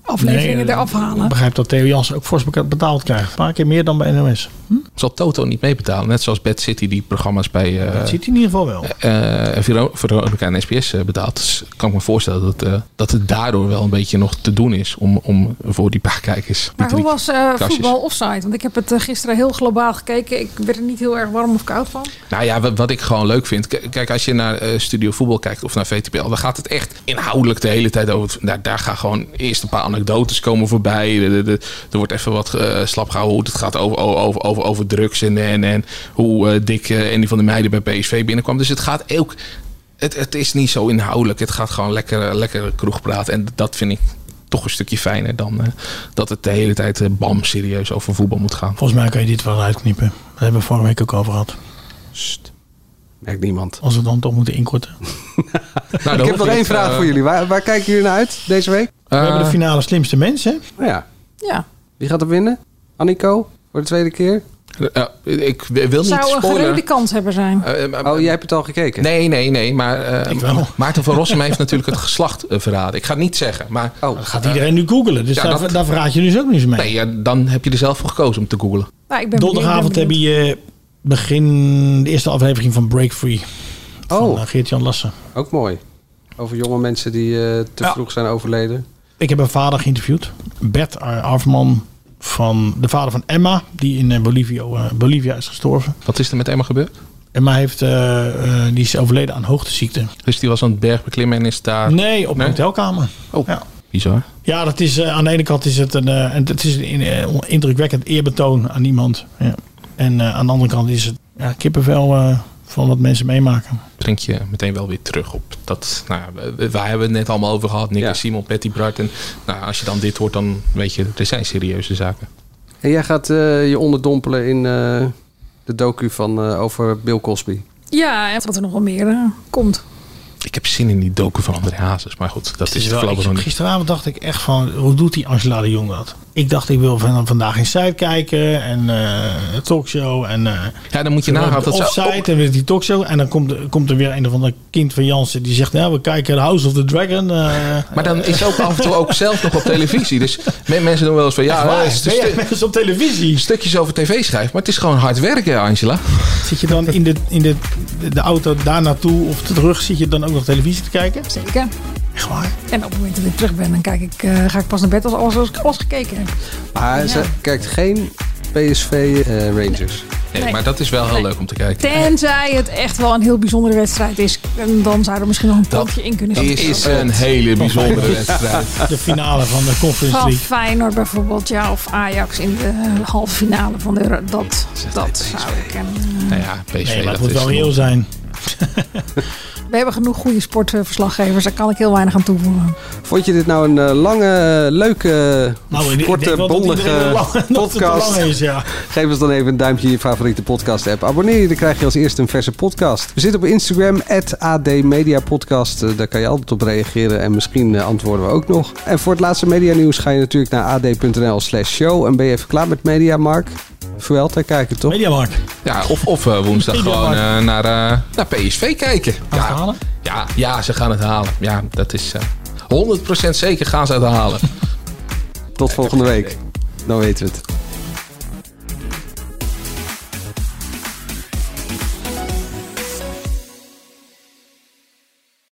Speaker 9: afleveringen
Speaker 10: Nee, eh,
Speaker 9: eraf
Speaker 10: Ik
Speaker 9: halen?
Speaker 10: begrijp dat Theo Jansen ook fors betaald krijgt. Een paar keer meer dan bij NOS.
Speaker 8: Zal Toto niet meebetalen? Net zoals Bad City die programma's bij eh,
Speaker 10: Dat ziet hij in ieder geval wel.
Speaker 8: eh, Vero- Veronica en SBS eh, betaalt. Dus kan ik me voorstellen dat, eh, dat het daardoor wel een beetje nog te doen is om, om voor die paar kijkers. die
Speaker 9: Maar hoe
Speaker 8: drie
Speaker 9: was eh,
Speaker 8: kastjes.
Speaker 9: voetbal offside? Want ik heb het eh, gisteren heel globaal gekeken. Ik werd er niet heel erg warm of koud van.
Speaker 8: Nou ja, wat, wat ik gewoon leuk vind. K- Kijk, als je naar eh, Studio Voetbal kijkt of naar VTPL, dan gaat het echt inhoudelijk de hele tijd over. het- Daar, daar gaan gewoon eerst een paar anekdotes komen voorbij. De- de- de- er wordt even wat eh, slap gehouden. hoe Het gaat over, over, over, over drugs en, en, en hoe eh, dik eh Andy van de Meijden bij PSV binnenkwam. Dus het gaat ook. Het, het is niet zo inhoudelijk. Het gaat gewoon lekker, eh, lekker kroegpraat. En dat vind ik toch een stukje fijner dan eh, dat het de hele tijd eh, bam serieus over voetbal moet gaan.
Speaker 10: Volgens mij kan je dit wel uitknippen. Daar hebben we vorige week ook over gehad.
Speaker 7: Merkt niemand.
Speaker 10: Als we dan toch moeten inkorten.
Speaker 8: Nou,
Speaker 7: (laughs) ik heb Nou, nog eh, één vraag voor jullie. Waar, waar kijken jullie naar uit deze week?
Speaker 10: we
Speaker 8: Eh.
Speaker 10: hebben de finale slimste mensen.
Speaker 7: Nou ja.
Speaker 9: Ja.
Speaker 7: Wie gaat er winnen? Annico? Voor de tweede keer?
Speaker 8: Eh, eh, ik wil niet
Speaker 9: Zou een
Speaker 8: spoilen. Eh,
Speaker 9: geruide kans hebben zijn.
Speaker 7: oh, jij hebt het al gekeken?
Speaker 8: Nee, nee, nee. Maar eh, (laughs) Maarten van Rossum heeft natuurlijk het geslacht eh, verraden. Ik ga het niet zeggen. Maar,
Speaker 7: dat
Speaker 10: gaat iedereen nu googelen. Dus daar, daar verraad je dus ook niets mee.
Speaker 8: eh, Nee, ja, dan heb je er zelf voor gekozen om te googelen.
Speaker 9: Nou, ik ben
Speaker 10: Donderdagavond heb je eh, begin de eerste aflevering van Break Free.
Speaker 8: Oh.
Speaker 10: Van eh, Geert-Jan Lassen.
Speaker 7: oh, Ook mooi. Over jonge mensen die eh, te vroeg zijn overleden.
Speaker 10: Ik heb een vader geïnterviewd. Bert Ar- Arfman. Van de vader van Emma. Die in eh, Bolivia, eh, Bolivia is gestorven.
Speaker 8: Wat is er met Emma gebeurd?
Speaker 10: Emma heeft, eh, eh, die is overleden aan hoogteziekte.
Speaker 8: Dus die was aan het berg beklimmen en is daar...
Speaker 10: Nee, op een hotelkamer.
Speaker 8: Ah. Oh,
Speaker 10: Ja.
Speaker 8: bizar.
Speaker 10: Ja, dat is, eh, aan de ene kant is het een, eh, en het is een eh, indrukwekkend eerbetoon aan iemand. Ja. En eh, aan de andere kant is het ja, kippenvel eh, van wat mensen meemaken.
Speaker 8: Breng je meteen wel weer terug op dat... Nou, ja, we- we- wij hebben het net allemaal over gehad. Nick en Simon, Patty Bart. En nou, als je dan dit hoort, dan weet je... Er zijn serieuze zaken.
Speaker 7: En jij gaat eh, je onderdompelen in eh, de docu van, eh, over Bill Cosby.
Speaker 9: Ja, en wat er nog wel meer eh, komt.
Speaker 8: Ik heb zin in die docu van André Hazes. Maar goed, dat
Speaker 10: Het is
Speaker 8: is, het
Speaker 10: wel-
Speaker 8: voorlopig
Speaker 10: ik-
Speaker 8: nog niet.
Speaker 10: gisteravond dacht ik echt van, hoe doet die Angela de Jong dat? Ik dacht, ik wil van, vandaag in site kijken en eh, talkshow. En,
Speaker 8: ja, dan moet je nagaan dat ze-
Speaker 10: Offsite en weer die talkshow. En dan komt, komt er weer een of ander kind van Jansen die zegt, nou, we kijken House of the Dragon. eh.
Speaker 8: Maar dan is ze ook af en toe ook zelf nog op televisie. Dus men- mensen doen wel eens van ja,
Speaker 10: Echt waar?
Speaker 8: eh, stu-
Speaker 10: Ben jij
Speaker 8: stu-
Speaker 10: mensen op televisie?
Speaker 8: Stukjes over tv schrijft, maar het is gewoon hard werken, Angela.
Speaker 10: Zit je dan in de, in de, de auto daar naartoe of terug, zit je dan ook nog televisie te kijken?
Speaker 9: Zeker.
Speaker 10: Echt waar?
Speaker 9: En op het moment dat ik terug ben, dan kijk ik, eh, ga ik pas naar bed als alles, als ik alles gekeken heb.
Speaker 7: Maar ze kijkt geen PSV eh, Rangers.
Speaker 8: Nee,
Speaker 9: Nee.
Speaker 8: maar dat is wel heel leuk om te kijken.
Speaker 9: Tenzij het echt wel een heel bijzondere wedstrijd is. En dan zou er misschien nog een tandje in kunnen
Speaker 8: Dat
Speaker 9: zitten.
Speaker 8: is een hele bijzondere wedstrijd.
Speaker 10: De finale van de Conference
Speaker 9: Van
Speaker 10: League.
Speaker 9: Feyenoord bijvoorbeeld, ja, of Ajax in de eh, halve finale van de... Euro- Dat, dat zou ik... eh,
Speaker 8: Nou ja, PSV,
Speaker 10: Nee, maar
Speaker 8: dat
Speaker 10: het moet
Speaker 8: is
Speaker 10: wel
Speaker 8: nog-
Speaker 10: reëel zijn.
Speaker 19: We hebben genoeg goede sportverslaggevers, daar kan ik heel weinig aan toevoegen.
Speaker 7: Vond je dit nou een eh, lange, leuke,
Speaker 20: Nou, ik- ik
Speaker 7: korte,
Speaker 20: denk wel dat
Speaker 7: bondige
Speaker 20: iedereen lang- (laughs) dat het te
Speaker 7: podcast?
Speaker 20: lang is, ja.
Speaker 7: Geef ons dan even een duimpje in je favoriete podcast app. Abonneer je, dan krijg je als eerste een verse podcast. We zitten op Instagram, @admediapodcast. Eh, Daar kan je altijd op reageren en misschien eh, antwoorden we ook nog. En voor het laatste medianieuws ga je natuurlijk naar ad.nl slash show. En ben je even klaar met Media, Mark? Vuelta kijken, toch?
Speaker 20: Media, Mark.
Speaker 8: Ja, of, of eh, woensdag
Speaker 7: Media
Speaker 8: gewoon
Speaker 7: Markt.
Speaker 8: eh, naar, eh, naar PSV kijken. ja. Ja, ja, ze gaan het halen. Ja, dat is eh 100% zeker gaan ze het halen.
Speaker 7: Tot volgende week. Dan weten we het.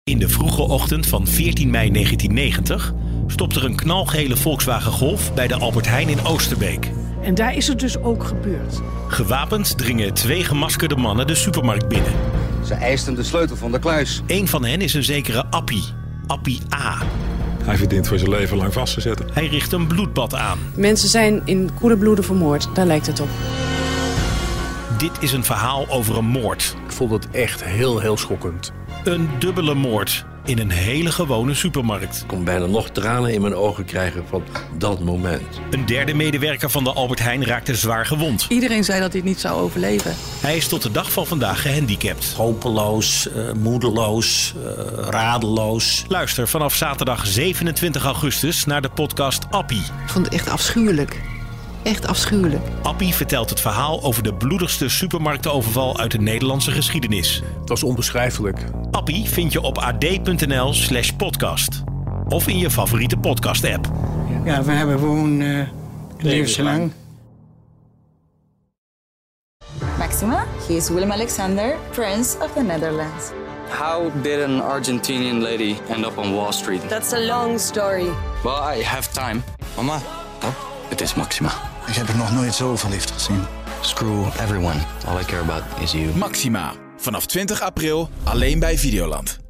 Speaker 10: In de vroege ochtend van 14 mei 1990 stopt er een knalgele Volkswagen Golf bij de Albert Heijn in Oosterbeek.
Speaker 21: En daar is het dus ook gebeurd.
Speaker 10: Gewapend dringen twee gemaskerde mannen de supermarkt binnen. Ze eisten de sleutel van de kluis. Een van hen is een zekere Appie. Appie A.
Speaker 22: Hij verdient voor zijn leven lang vast te zetten.
Speaker 10: Hij richt een bloedbad aan.
Speaker 9: Mensen zijn in koele bloeden vermoord, daar lijkt het op.
Speaker 10: Dit is een verhaal over een moord. Ik vond het echt heel, heel schokkend. Een dubbele moord in een hele gewone supermarkt. Ik kon bijna nog tranen in mijn ogen krijgen van dat moment. Een derde medewerker van de Albert Heijn raakte zwaar gewond.
Speaker 23: Iedereen zei dat hij het niet zou overleven.
Speaker 10: Hij is tot de dag van vandaag gehandicapt.
Speaker 24: Hopeloos, eh, moedeloos, eh, radeloos.
Speaker 10: Luister vanaf zaterdag 27 augustus naar de podcast Appie.
Speaker 9: Ik vond het echt afschuwelijk. Echt afschuwelijk.
Speaker 10: Appie vertelt het verhaal over de bloedigste supermarktenoverval uit de Nederlandse geschiedenis. Het was onbeschrijfelijk. Appie vind je op ad.nl slash podcast. Of in je favoriete podcast-app.
Speaker 25: Ja, we hebben gewoon eh levenslang.
Speaker 11: Maxima, he is Willem Alexander, Prince of the Netherlands.
Speaker 2: How did an Argentinian lady end up on Wall Street?
Speaker 16: That's a long story.
Speaker 2: Well, I have time. Mama, oh, it is Maxima.
Speaker 26: Ik heb er nog nooit zoveel liefde gezien.
Speaker 2: Screw everyone. All I care about is you.
Speaker 27: Maxima. Vanaf 20 april alleen bij Videoland.